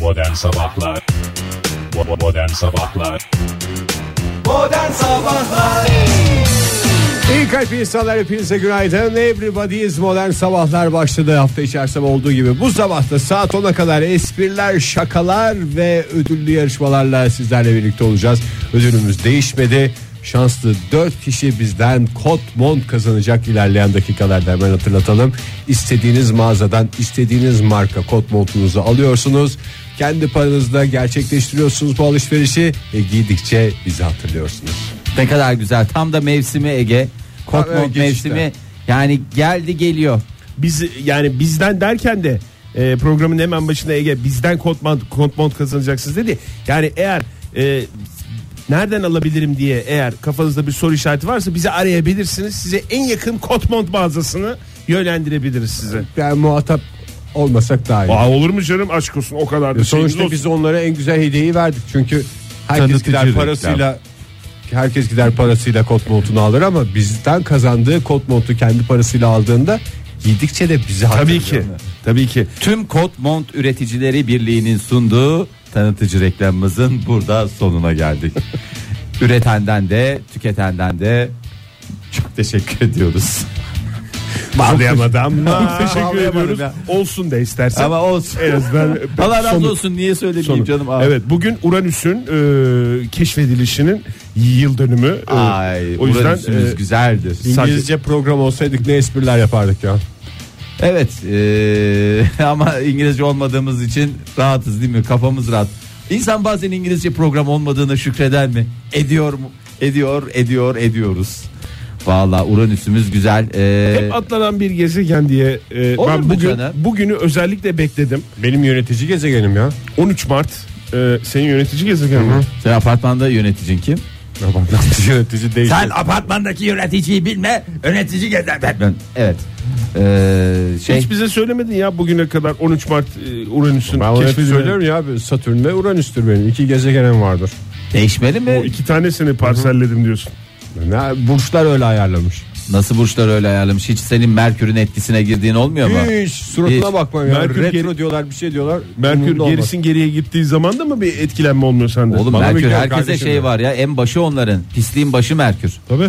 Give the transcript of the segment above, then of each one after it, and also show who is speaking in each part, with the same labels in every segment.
Speaker 1: Modern Sabahlar Bo- Modern Sabahlar
Speaker 2: Modern Sabahlar
Speaker 3: İyi kalp insanlar hepinize günaydın. Everybody's Modern Sabahlar başladı hafta içerisinde olduğu gibi. Bu sabah da saat 10'a kadar espriler, şakalar ve ödüllü yarışmalarla sizlerle birlikte olacağız. Ödülümüz değişmedi. Şanslı 4 kişi bizden kot mont kazanacak ilerleyen dakikalarda hemen hatırlatalım. İstediğiniz mağazadan istediğiniz marka kot montunuzu alıyorsunuz. Kendi paranızla gerçekleştiriyorsunuz bu alışverişi ve giydikçe bizi hatırlıyorsunuz.
Speaker 4: Ne kadar güzel. Tam da mevsimi Ege. Kot
Speaker 3: Tam
Speaker 4: mont
Speaker 3: Ege işte.
Speaker 4: mevsimi. Yani geldi geliyor.
Speaker 5: biz yani bizden derken de e, programın hemen başında Ege bizden kontmont, kontmont kazanacaksınız dedi. Yani eğer e, nereden alabilirim diye eğer kafanızda bir soru işareti varsa bizi arayabilirsiniz. Size en yakın kontmont mağazasını yönlendirebiliriz size.
Speaker 3: Yani muhatap olmasak daha iyi.
Speaker 5: Aa, olur mu canım aşk olsun o kadar da şeyimiz
Speaker 3: Sonuçta
Speaker 5: olsun.
Speaker 3: biz onlara en güzel hediyeyi verdik. Çünkü herkes
Speaker 5: Tanıtıcı
Speaker 3: gider
Speaker 5: reklam.
Speaker 3: parasıyla herkes gider parasıyla kot montunu alır ama bizden kazandığı kot montu kendi parasıyla aldığında giydikçe de bizi
Speaker 5: Tabii
Speaker 3: hatırlıyor.
Speaker 5: ki. Tabii ki.
Speaker 4: Tüm kot mont üreticileri birliğinin sunduğu tanıtıcı reklamımızın burada sonuna geldik. Üretenden de tüketenden de çok teşekkür ediyoruz.
Speaker 5: Bağlayamadı ama teşekkür
Speaker 4: Bağlayamadım
Speaker 5: ediyoruz.
Speaker 4: ya.
Speaker 5: Olsun da istersen.
Speaker 4: Ama olsun.
Speaker 5: en azından
Speaker 4: Allah razı
Speaker 5: somut-
Speaker 4: olsun niye söylemeyeyim
Speaker 5: Sonu.
Speaker 4: canım. Aa.
Speaker 5: Evet bugün Uranüs'ün e, keşfedilişinin yıl dönümü. E,
Speaker 4: Ay,
Speaker 5: o yüzden
Speaker 4: Uranüs'ümüz
Speaker 5: e,
Speaker 4: güzeldir.
Speaker 3: İngilizce program olsaydık ne espriler yapardık ya.
Speaker 4: Evet eee, ama İngilizce olmadığımız için rahatız değil mi? Kafamız rahat. İnsan bazen İngilizce program olmadığını şükreder mi? Ediyor mu? Ediyor, ediyor, ediyoruz. Valla Uranüs'ümüz güzel. Eee,
Speaker 5: hep atlanan bir gezegen diye e,
Speaker 4: Olur
Speaker 5: ben
Speaker 4: mu
Speaker 5: bugün
Speaker 4: canım?
Speaker 5: bugünü özellikle bekledim.
Speaker 3: Benim yönetici gezegenim ya.
Speaker 5: 13 Mart e, senin yönetici gezegen mi?
Speaker 4: sen apartmanda yöneticin kim?
Speaker 3: yönetici değil.
Speaker 4: Sen apartmandaki yöneticiyi bilme, yönetici gezer. Evet. Eee, şey,
Speaker 5: Hiç bize söylemedin ya bugüne kadar 13 Mart e, Uranüs'ün
Speaker 3: Ben onu hep
Speaker 5: keşfedilişini.
Speaker 3: söylüyorum ya Satürn ve Uranüs'tür benim. İki gezegenim vardır.
Speaker 4: değişmeli mi?
Speaker 5: O iki tanesini parselledim diyorsun.
Speaker 3: Ne, burçlar öyle ayarlamış.
Speaker 4: Nasıl burçlar öyle ayarlamış? Hiç senin Merkür'ün etkisine girdiğin olmuyor mu?
Speaker 3: Hiç suratına
Speaker 4: Hiç.
Speaker 3: bakmam ya.
Speaker 5: Merkür
Speaker 3: Retro
Speaker 5: geri-
Speaker 3: diyorlar bir şey diyorlar.
Speaker 5: Merkür
Speaker 3: Umurumda olmaz.
Speaker 5: gerisin geriye gittiği zaman da mı bir etkilenme olmuyor sende?
Speaker 4: Oğlum
Speaker 5: Bana mı
Speaker 4: Merkür
Speaker 5: geliyor
Speaker 4: herkese
Speaker 5: kardeşim
Speaker 4: şey
Speaker 5: ya?
Speaker 4: var ya en başı onların. Pisliğin başı Merkür.
Speaker 3: Tabii.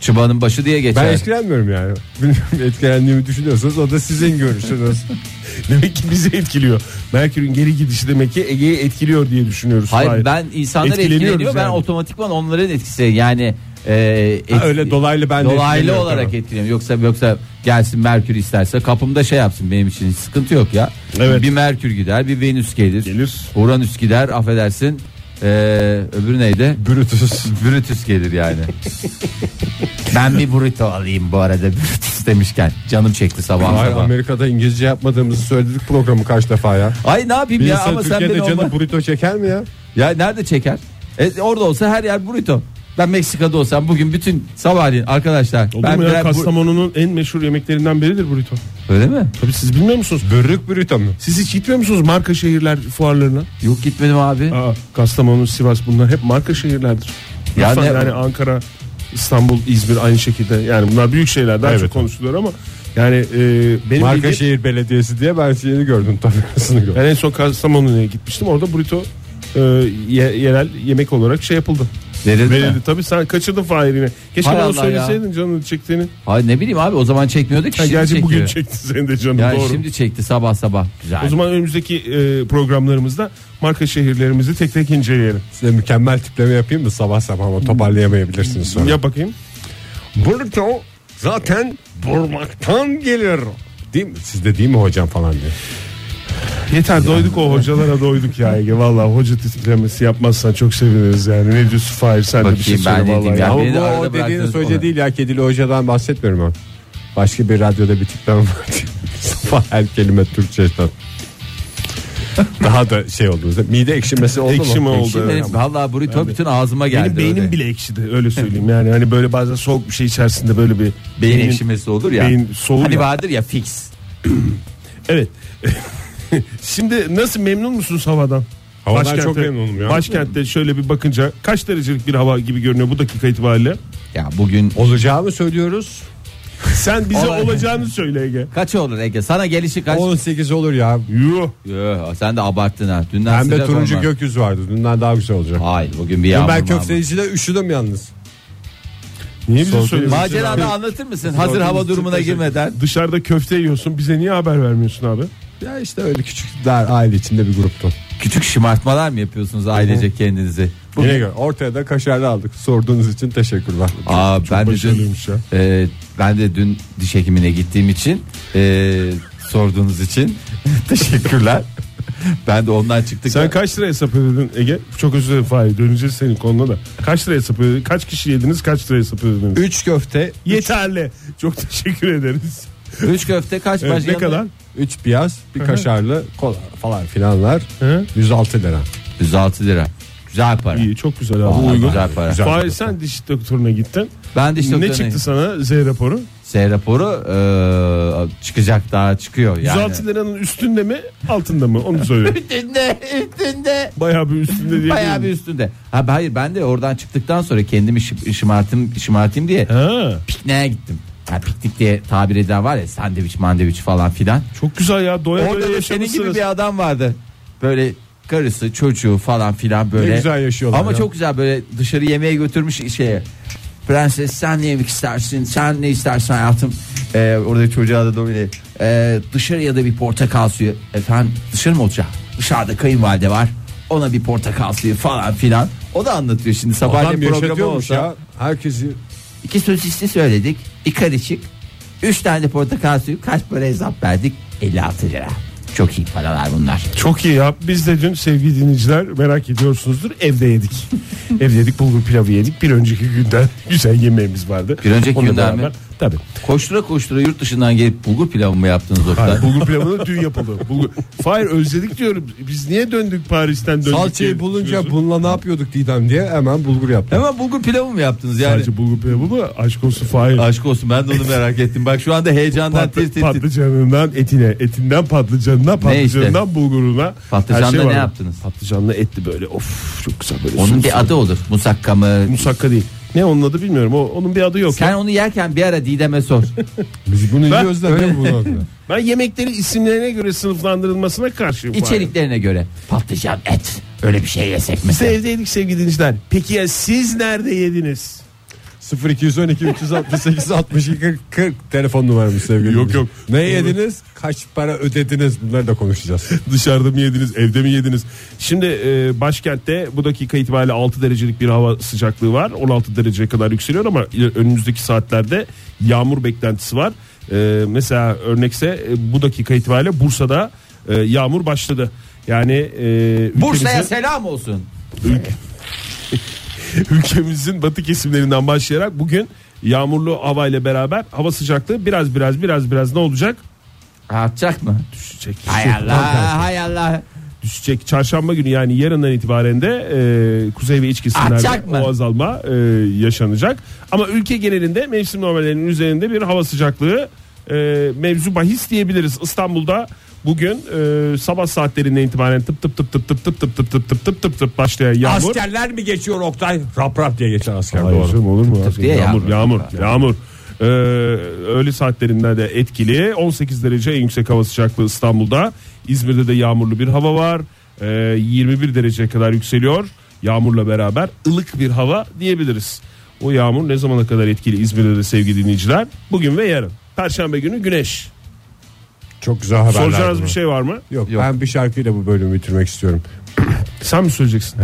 Speaker 4: Çıbanın başı diye geçer.
Speaker 3: Ben etkilenmiyorum yani. Bilmiyorum etkilendiğimi düşünüyorsanız o da sizin görüşünüz.
Speaker 5: Demek ki bizi etkiliyor. Merkür'ün geri gidişi demek ki Ege'yi etkiliyor diye düşünüyoruz.
Speaker 4: Hayır, ben insanlar
Speaker 5: Etkileniyoruz
Speaker 4: etkileniyor. Ben
Speaker 5: yani.
Speaker 4: otomatikman onların etkisi yani e, et-
Speaker 3: Ha, öyle dolaylı ben de
Speaker 4: dolaylı
Speaker 3: etkileniyorum,
Speaker 4: olarak
Speaker 3: tamam.
Speaker 4: etkileniyorum. Yoksa yoksa gelsin Merkür isterse kapımda şey yapsın benim için hiç sıkıntı yok ya.
Speaker 5: Evet.
Speaker 4: Bir Merkür gider, bir Venüs gelir.
Speaker 5: Gelir.
Speaker 4: Uranüs gider affedersin. E, öbürü neydi? Brutus. Brutus gelir yani. ben bir burrito alayım bu arada Brutus demişken. Canım çekti sabah
Speaker 3: Hayır,
Speaker 4: sabah.
Speaker 3: Amerika'da İngilizce yapmadığımızı söyledik programı kaç defa ya.
Speaker 4: Ay ne yapayım
Speaker 3: Bir
Speaker 4: ya
Speaker 3: insan
Speaker 4: ama sen
Speaker 3: Türkiye'de
Speaker 4: beni
Speaker 3: canı
Speaker 4: olma-
Speaker 3: burrito çeker mi ya?
Speaker 4: Ya nerede çeker? E, orada olsa her yer burrito. Ben Meksika'da olsam bugün bütün sabahleyin arkadaşlar.
Speaker 5: Olur
Speaker 4: ben
Speaker 5: mu ya?
Speaker 4: birer bur-
Speaker 5: Kastamonu'nun en meşhur yemeklerinden biridir burrito.
Speaker 4: Öyle mi?
Speaker 5: Tabii siz bilmiyor musunuz?
Speaker 3: Börrük burrito mu?
Speaker 5: Siz hiç gitmiyor musunuz marka şehirler fuarlarına?
Speaker 4: Yok gitmedim abi.
Speaker 5: Aa, Kastamonu, Sivas bunlar hep marka şehirlerdir.
Speaker 4: Ya
Speaker 5: Lütfen
Speaker 4: ne-
Speaker 5: yani Ankara, İstanbul, İzmir aynı şekilde. Yani bunlar büyük şehirler daha
Speaker 3: Evet.
Speaker 5: çok konuşuluyor ama yani e, benim
Speaker 3: Marka
Speaker 5: bildiğim-
Speaker 3: Şehir Belediyesi diye ben şeyini gördüm tabelasını gördüm.
Speaker 5: ben en son Kastamonu'ya gitmiştim. Orada burrito e, ye- yerel yemek olarak şey yapıldı.
Speaker 4: Verildi mi?
Speaker 5: Verildi. Tabii sen kaçırdın Fahir'ini. Keşke
Speaker 4: Hay
Speaker 5: bana
Speaker 4: Allah ya.
Speaker 5: söyleseydin canını çektiğini.
Speaker 4: Hayır ne bileyim abi o zaman çekmiyordu ki
Speaker 5: Ha,
Speaker 4: şimdi
Speaker 5: gerçi
Speaker 4: çekiyor.
Speaker 5: bugün çekti senin de canın
Speaker 4: yani
Speaker 5: doğru.
Speaker 4: şimdi çekti sabah sabah. Güzel.
Speaker 5: O zaman önümüzdeki e, programlarımızda marka şehirlerimizi tek tek inceleyelim.
Speaker 3: Size mükemmel tipleme yapayım mı sabah sabah ama toparlayamayabilirsiniz sonra.
Speaker 5: Yap bakayım.
Speaker 3: burrito zaten burmaktan gelir. Değil mi? Sizde değil mi hocam falan diye.
Speaker 5: Yeter doyduk o hocalara doyduk ya Ege. Vallahi hoca titremesi yapmazsan çok seviniriz yani. Ne diyorsun Fahir sen de bir şey
Speaker 4: Bakayım ben
Speaker 5: söyle
Speaker 4: ne
Speaker 5: vallahi.
Speaker 4: diyeyim ya.
Speaker 3: Ama
Speaker 4: Beni
Speaker 3: bu
Speaker 4: arada
Speaker 3: o dediğiniz
Speaker 4: bıraktınız
Speaker 3: hoca
Speaker 4: ona.
Speaker 3: değil ya kedili hocadan bahsetmiyorum ben. Başka bir radyoda bir tipleme var. Sabah her kelime Türkçe'den. Daha da şey oldu. Mide ekşimesi oldu mu?
Speaker 5: Ekşime oldu.
Speaker 4: Şimdi benim, vallahi burrito bütün ağzıma geldi.
Speaker 5: Benim beynim
Speaker 4: öyle.
Speaker 5: bile ekşidi öyle söyleyeyim yani. Hani böyle bazen soğuk bir şey içerisinde böyle bir
Speaker 4: beyin
Speaker 5: beynin-
Speaker 4: ekşimesi olur ya.
Speaker 5: beyin soğur
Speaker 4: hani
Speaker 5: ya.
Speaker 4: vardır ya fix.
Speaker 5: Evet. Şimdi nasıl memnun musunuz havadan?
Speaker 3: Havadan çok memnunum ya.
Speaker 5: Başkentte şöyle bir bakınca kaç derecelik bir hava gibi görünüyor bu dakika itibariyle?
Speaker 4: Ya bugün
Speaker 3: Olacağını söylüyoruz.
Speaker 5: Sen bize
Speaker 4: Olay.
Speaker 5: olacağını söyle Ege.
Speaker 4: Kaç olur Ege? Sana gelişi kaç?
Speaker 3: 18 olur ya.
Speaker 5: Yuh.
Speaker 4: Yo, sen de abarttın ha. Dünden
Speaker 3: Pembe
Speaker 4: sıcak
Speaker 3: turuncu
Speaker 4: olmaz.
Speaker 3: gökyüzü vardı. Dünden daha güzel olacak.
Speaker 4: Hayır bugün bir
Speaker 3: Dün
Speaker 4: yağmur.
Speaker 3: ben
Speaker 4: mağmur.
Speaker 3: köftecide üşüdüm yalnız.
Speaker 5: Niye bize
Speaker 3: Sordunuz.
Speaker 5: söylüyorsun? abi?
Speaker 4: Macerada anlatır mısın? Hazır hava durumuna girmeden.
Speaker 5: Dışarıda köfte yiyorsun bize niye haber vermiyorsun abi?
Speaker 3: Ya işte öyle küçükler aile içinde bir gruptu.
Speaker 4: Küçük şımartmalar mı yapıyorsunuz ailecek kendinizi? Bugün-
Speaker 3: Yine gör. Ortaya da kaşarlı aldık. Sorduğunuz için teşekkürler.
Speaker 4: Aa, ben de dün,
Speaker 5: başarılıymış ya.
Speaker 4: e, ben de dün diş hekimine gittiğim için e, sorduğunuz için teşekkürler. Ben de ondan çıktık.
Speaker 5: Sen kaç lira hesap ödedin Ege? Çok özür dilerim Fahir döneceğiz senin konuna da. Kaç lira hesap ödedin? Kaç kişi yediniz? Kaç lira hesap ödediniz?
Speaker 3: 3 köfte,
Speaker 5: Yeterli. Çok teşekkür ederiz.
Speaker 4: Üç köfte kaç
Speaker 5: Evet,
Speaker 4: baş
Speaker 5: ne
Speaker 4: yanında?
Speaker 5: kadar?
Speaker 3: 3 piyaz, bir
Speaker 5: Hı hı.
Speaker 3: kaşarlı kola falan filanlar.
Speaker 5: Hı?
Speaker 3: 106 lira.
Speaker 4: 106 lira. Güzel para.
Speaker 5: İyi çok güzel abi.
Speaker 4: Vallahi
Speaker 5: uygun.
Speaker 4: güzel para.
Speaker 3: Güzel.
Speaker 5: Fahir sen diş doktoruna gittin.
Speaker 4: Ben de işte
Speaker 5: ne çıktı sana Z raporu?
Speaker 4: S raporu e, çıkacak daha çıkıyor yani.
Speaker 5: 106 liranın üstünde mi altında mı? Onu söyle.
Speaker 4: Üstünde, üstünde.
Speaker 5: Bayağı bir üstünde diye.
Speaker 4: Bayağı bir üstünde. Ha hayır ben de oradan çıktıktan sonra kendimi şıp- şımartım şımartayım diye
Speaker 5: Ha,
Speaker 4: pikniğe gittim. Ha, piknik diye tabir eden var ya sandviç mandviç falan filan.
Speaker 5: çok güzel ya doya doya
Speaker 4: Orada da senin gibi
Speaker 5: yaşamışsınız.
Speaker 4: bir adam vardı. Böyle karısı çocuğu falan filan böyle.
Speaker 3: Ne güzel yaşıyorlar
Speaker 4: Ama
Speaker 3: ya.
Speaker 4: çok güzel böyle dışarı yemeğe götürmüş şeye. Prenses sen ne yemek istersin? Sen ne istersin hayatım? Ee, orada çocuğa da böyle ee, dışarıya da bir portakal suyu. Efendim dışarı mı olacak? Dışarıda kayınvalide var. Ona bir portakal suyu falan filan. O da anlatıyor şimdi
Speaker 3: Adam
Speaker 4: sabahleyin programı
Speaker 3: yaşatıyormuş
Speaker 4: olsa.
Speaker 3: ya. Herkesi
Speaker 4: İki sosisli söyledik. Bir karışık. Üç tane de portakal suyu kaç para hesap verdik? 56 lira. Çok iyi paralar bunlar.
Speaker 5: Çok iyi ya. Biz de dün sevgili dinleyiciler merak ediyorsunuzdur evde yedik. evde yedik bulgur pilavı yedik. Bir önceki günden güzel yemeğimiz vardı.
Speaker 4: Bir önceki
Speaker 5: Onunla
Speaker 4: günden
Speaker 5: beraber-
Speaker 4: mi?
Speaker 5: Tabii.
Speaker 4: Koştura koştura yurt dışından gelip bulgur pilavı mı yaptınız
Speaker 5: Hayır,
Speaker 4: Oktay?
Speaker 5: bulgur pilavı da dün yapıldı. Bulgur... Fahir özledik diyorum. Biz niye döndük Paris'ten döndük? diye
Speaker 3: salçayı bulunca
Speaker 5: düşünüyorsun.
Speaker 3: bununla ne yapıyorduk Didem diye hemen bulgur yaptım.
Speaker 4: Hemen bulgur pilavı mı yaptınız yani?
Speaker 5: Sadece bulgur pilavı mı? Aşk olsun Fahir.
Speaker 4: Aşk olsun ben de onu merak ettim. Bak şu anda heyecandan
Speaker 5: Patlı-
Speaker 4: tir tir tir.
Speaker 5: patlıcanından etine, etinden patlıcanına, patlıcanından bulguruna.
Speaker 4: Patlıcanla
Speaker 5: her şey
Speaker 4: ne
Speaker 5: var.
Speaker 4: yaptınız?
Speaker 5: Patlıcanla etli böyle of çok güzel böyle.
Speaker 4: Onun
Speaker 5: sus-
Speaker 4: bir adı olur. Musakka mı?
Speaker 5: musakka değil. Ne onun adı bilmiyorum. O, onun bir adı yok.
Speaker 4: Sen onu yerken bir ara Didem'e sor.
Speaker 3: Biz bunu
Speaker 5: Ben-
Speaker 3: yiyoruz da ne bunu?
Speaker 5: Ben yemekleri isimlerine göre sınıflandırılmasına karşıyım. Fahir.
Speaker 4: İçeriklerine göre. Patlıcan et. Öyle bir şey yesek
Speaker 5: Biz de
Speaker 4: mesela.
Speaker 5: evdeydik sevgili dinleyiciler. Peki ya siz nerede yediniz?
Speaker 3: 0212 368 62 40, 40 telefon numaramız sevgili.
Speaker 5: Yok, yok.
Speaker 3: Ne yediniz? Kaç para ödediniz? Bunları da konuşacağız.
Speaker 5: Dışarıda mı yediniz, evde mi yediniz? Şimdi e, başkentte bu dakika itibariyle 6 derecelik bir hava sıcaklığı var. 16 dereceye kadar yükseliyor ama il- önümüzdeki saatlerde yağmur beklentisi var. E, mesela örnekse e, bu dakika itibariyle Bursa'da e, yağmur başladı. Yani e, ülkemizin-
Speaker 4: Bursa'ya selam olsun.
Speaker 5: ülkemizin batı kesimlerinden başlayarak bugün yağmurlu havayla beraber hava sıcaklığı biraz biraz biraz biraz ne olacak?
Speaker 4: Rahatacak mı?
Speaker 5: Düşecek.
Speaker 4: Hay Allah hay Allah.
Speaker 5: düşecek. Çarşamba günü yani yarından itibaren de e, kuzey ve iç
Speaker 4: Artacak
Speaker 5: kesimlerde
Speaker 4: mı?
Speaker 5: o azalma e, yaşanacak. Ama ülke genelinde mevsim normallerinin üzerinde bir hava sıcaklığı e, mevzu bahis diyebiliriz. İstanbul'da bugün e, sabah saatlerinden itibaren tıp tıp tıp tıp tıp tıp tıp tıp tıp tıp tıp tıp tıp başlayan yağmur.
Speaker 3: Askerler mi geçiyor Oktay? Rap rap diye geçen asker
Speaker 5: Hayır
Speaker 3: doğru.
Speaker 5: canım, olur mu?
Speaker 4: diye
Speaker 5: yağmur,
Speaker 4: yağmur.
Speaker 5: yağmur, yağmur. Ee, öğle saatlerinde de etkili. 18 derece en yüksek hava sıcaklığı İstanbul'da. İzmir'de de yağmurlu bir hava var. Ee, 21 dereceye kadar yükseliyor. Yağmurla beraber ılık bir hava diyebiliriz. O yağmur ne zamana kadar etkili İzmir'de de sevgili dinleyiciler? Bugün ve yarın. Perşembe günü güneş.
Speaker 3: Çok güzel haberler.
Speaker 5: Soracağınız
Speaker 3: bunlar.
Speaker 5: bir şey var mı?
Speaker 3: Yok, ben bir şarkıyla bu bölümü bitirmek istiyorum.
Speaker 5: Sen mi söyleyeceksin?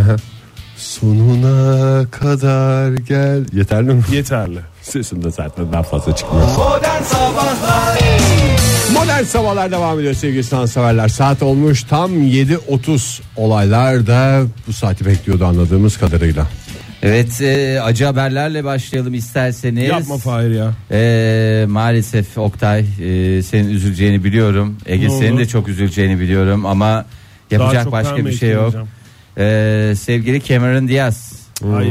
Speaker 3: Sonuna kadar gel. Yeterli mi?
Speaker 5: Yeterli.
Speaker 3: Sesim de zaten daha fazla çıkmıyor.
Speaker 2: Modern Sabahlar
Speaker 3: Modern sabahlar devam ediyor sevgili sanatseverler. Saat olmuş tam 7.30. Olaylar da bu saati bekliyordu anladığımız kadarıyla.
Speaker 4: Evet e, acı haberlerle başlayalım isterseniz.
Speaker 5: Yapma Fahir ya.
Speaker 4: E, maalesef Oktay e, senin üzüleceğini biliyorum. Ege
Speaker 5: Ne
Speaker 4: senin
Speaker 5: oldu?
Speaker 4: de çok üzüleceğini biliyorum ama yapacak
Speaker 5: çok
Speaker 4: başka
Speaker 5: verme
Speaker 4: bir şey yok.
Speaker 5: ekleyeceğim.
Speaker 4: E, sevgili Cameron Diaz.
Speaker 3: Hmm.
Speaker 5: Ay.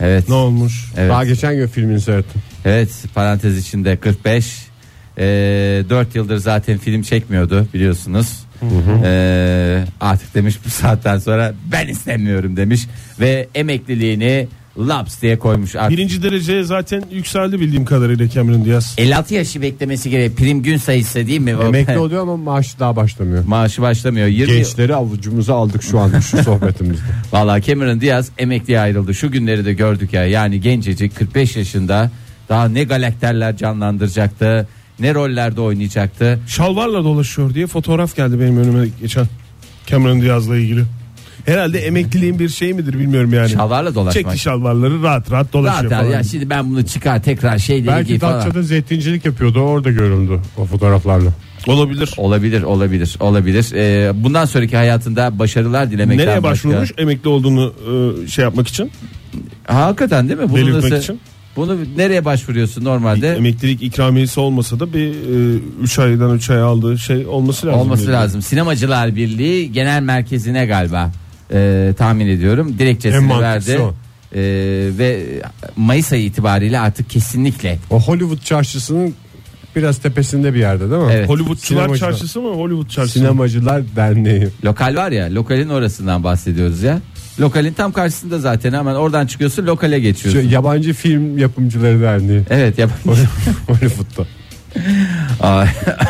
Speaker 4: Evet.
Speaker 5: Ne olmuş?
Speaker 4: Evet.
Speaker 3: Daha geçen gün filmini seyrettim.
Speaker 4: Evet parantez içinde 45 e, 4 yıldır zaten film çekmiyordu biliyorsunuz E, artık demiş bu saatten sonra ben istemiyorum demiş ve emekliliğini laps diye koymuş artık.
Speaker 5: Birinci dereceye zaten yükseldi bildiğim kadarıyla Cameron Diaz.
Speaker 4: 56 yaşı beklemesi gerek prim gün sayısı değil mi? O-
Speaker 3: Emekli oluyor ama maaşı daha başlamıyor.
Speaker 4: Maaşı başlamıyor. 20
Speaker 3: Gençleri avucumuza aldık şu anda şu sohbetimizde.
Speaker 4: Valla Cameron Diaz emekliye ayrıldı. Şu günleri de gördük ya. Yani gencecik 45 yaşında daha ne galakterler canlandıracaktı. Ne rollerde oynayacaktı.
Speaker 5: Şalvarla dolaşıyor diye fotoğraf geldi benim önüme geçen Cameron Diaz'la ilgili.
Speaker 4: E,
Speaker 5: Herhalde emekliliğin bir şey midir bilmiyorum yani.
Speaker 4: Şalvarla dolaşmak.
Speaker 5: Çekti şalvarları rahat rahat dolaşıyor
Speaker 4: Rahat rahat.
Speaker 5: falan.
Speaker 4: ya şimdi ben bunu çıkar tekrar şeyleri giy
Speaker 3: Belki
Speaker 4: falan.
Speaker 3: Datça'da zeytincilik yapıyordu orada göründü o fotoğraflarla.
Speaker 5: Olabilir.
Speaker 4: Olabilir olabilir olabilir. Ee, bundan sonraki hayatında başarılar dilemekten
Speaker 5: Nereye
Speaker 4: başka-
Speaker 5: başvurmuş emekli olduğunu e, şey yapmak için?
Speaker 4: Ha, hakikaten değil mi? Bunu
Speaker 5: Belirtmek
Speaker 4: nasıl-
Speaker 5: için.
Speaker 4: Bunu nereye başvuruyorsun normalde?
Speaker 5: Emeklilik ikramiyesi olmasa da bir 3 aydan 3 ay aldığı şey olması lazım.
Speaker 4: Olması
Speaker 5: Belki.
Speaker 4: lazım. Sinemacılar Birliği Genel Merkezi'ne galiba e, tahmin ediyorum.
Speaker 5: En
Speaker 4: Dilekçesini
Speaker 5: mantıklısı
Speaker 4: verdi.
Speaker 5: o.
Speaker 4: E, ve Mayıs ayı itibariyle artık kesinlikle
Speaker 3: O Hollywood çarşısının biraz tepesinde bir yerde değil mi?
Speaker 4: Evet.
Speaker 5: Hollywoodçular
Speaker 3: Sinemacılar.
Speaker 5: çarşısı mı Hollywood çarşısı mı?
Speaker 3: Sinemacılar Derneği.
Speaker 4: lokal var ya lokalin orasından bahsediyoruz ya. Lokalin tam karşısında zaten hemen oradan çıkıyorsun lokale
Speaker 3: Şu
Speaker 4: geçiyorsun.
Speaker 5: Şey-
Speaker 3: yabancı film yapımcıları derneği.
Speaker 4: evet yap.
Speaker 3: Hollywood'da.
Speaker 4: Ay.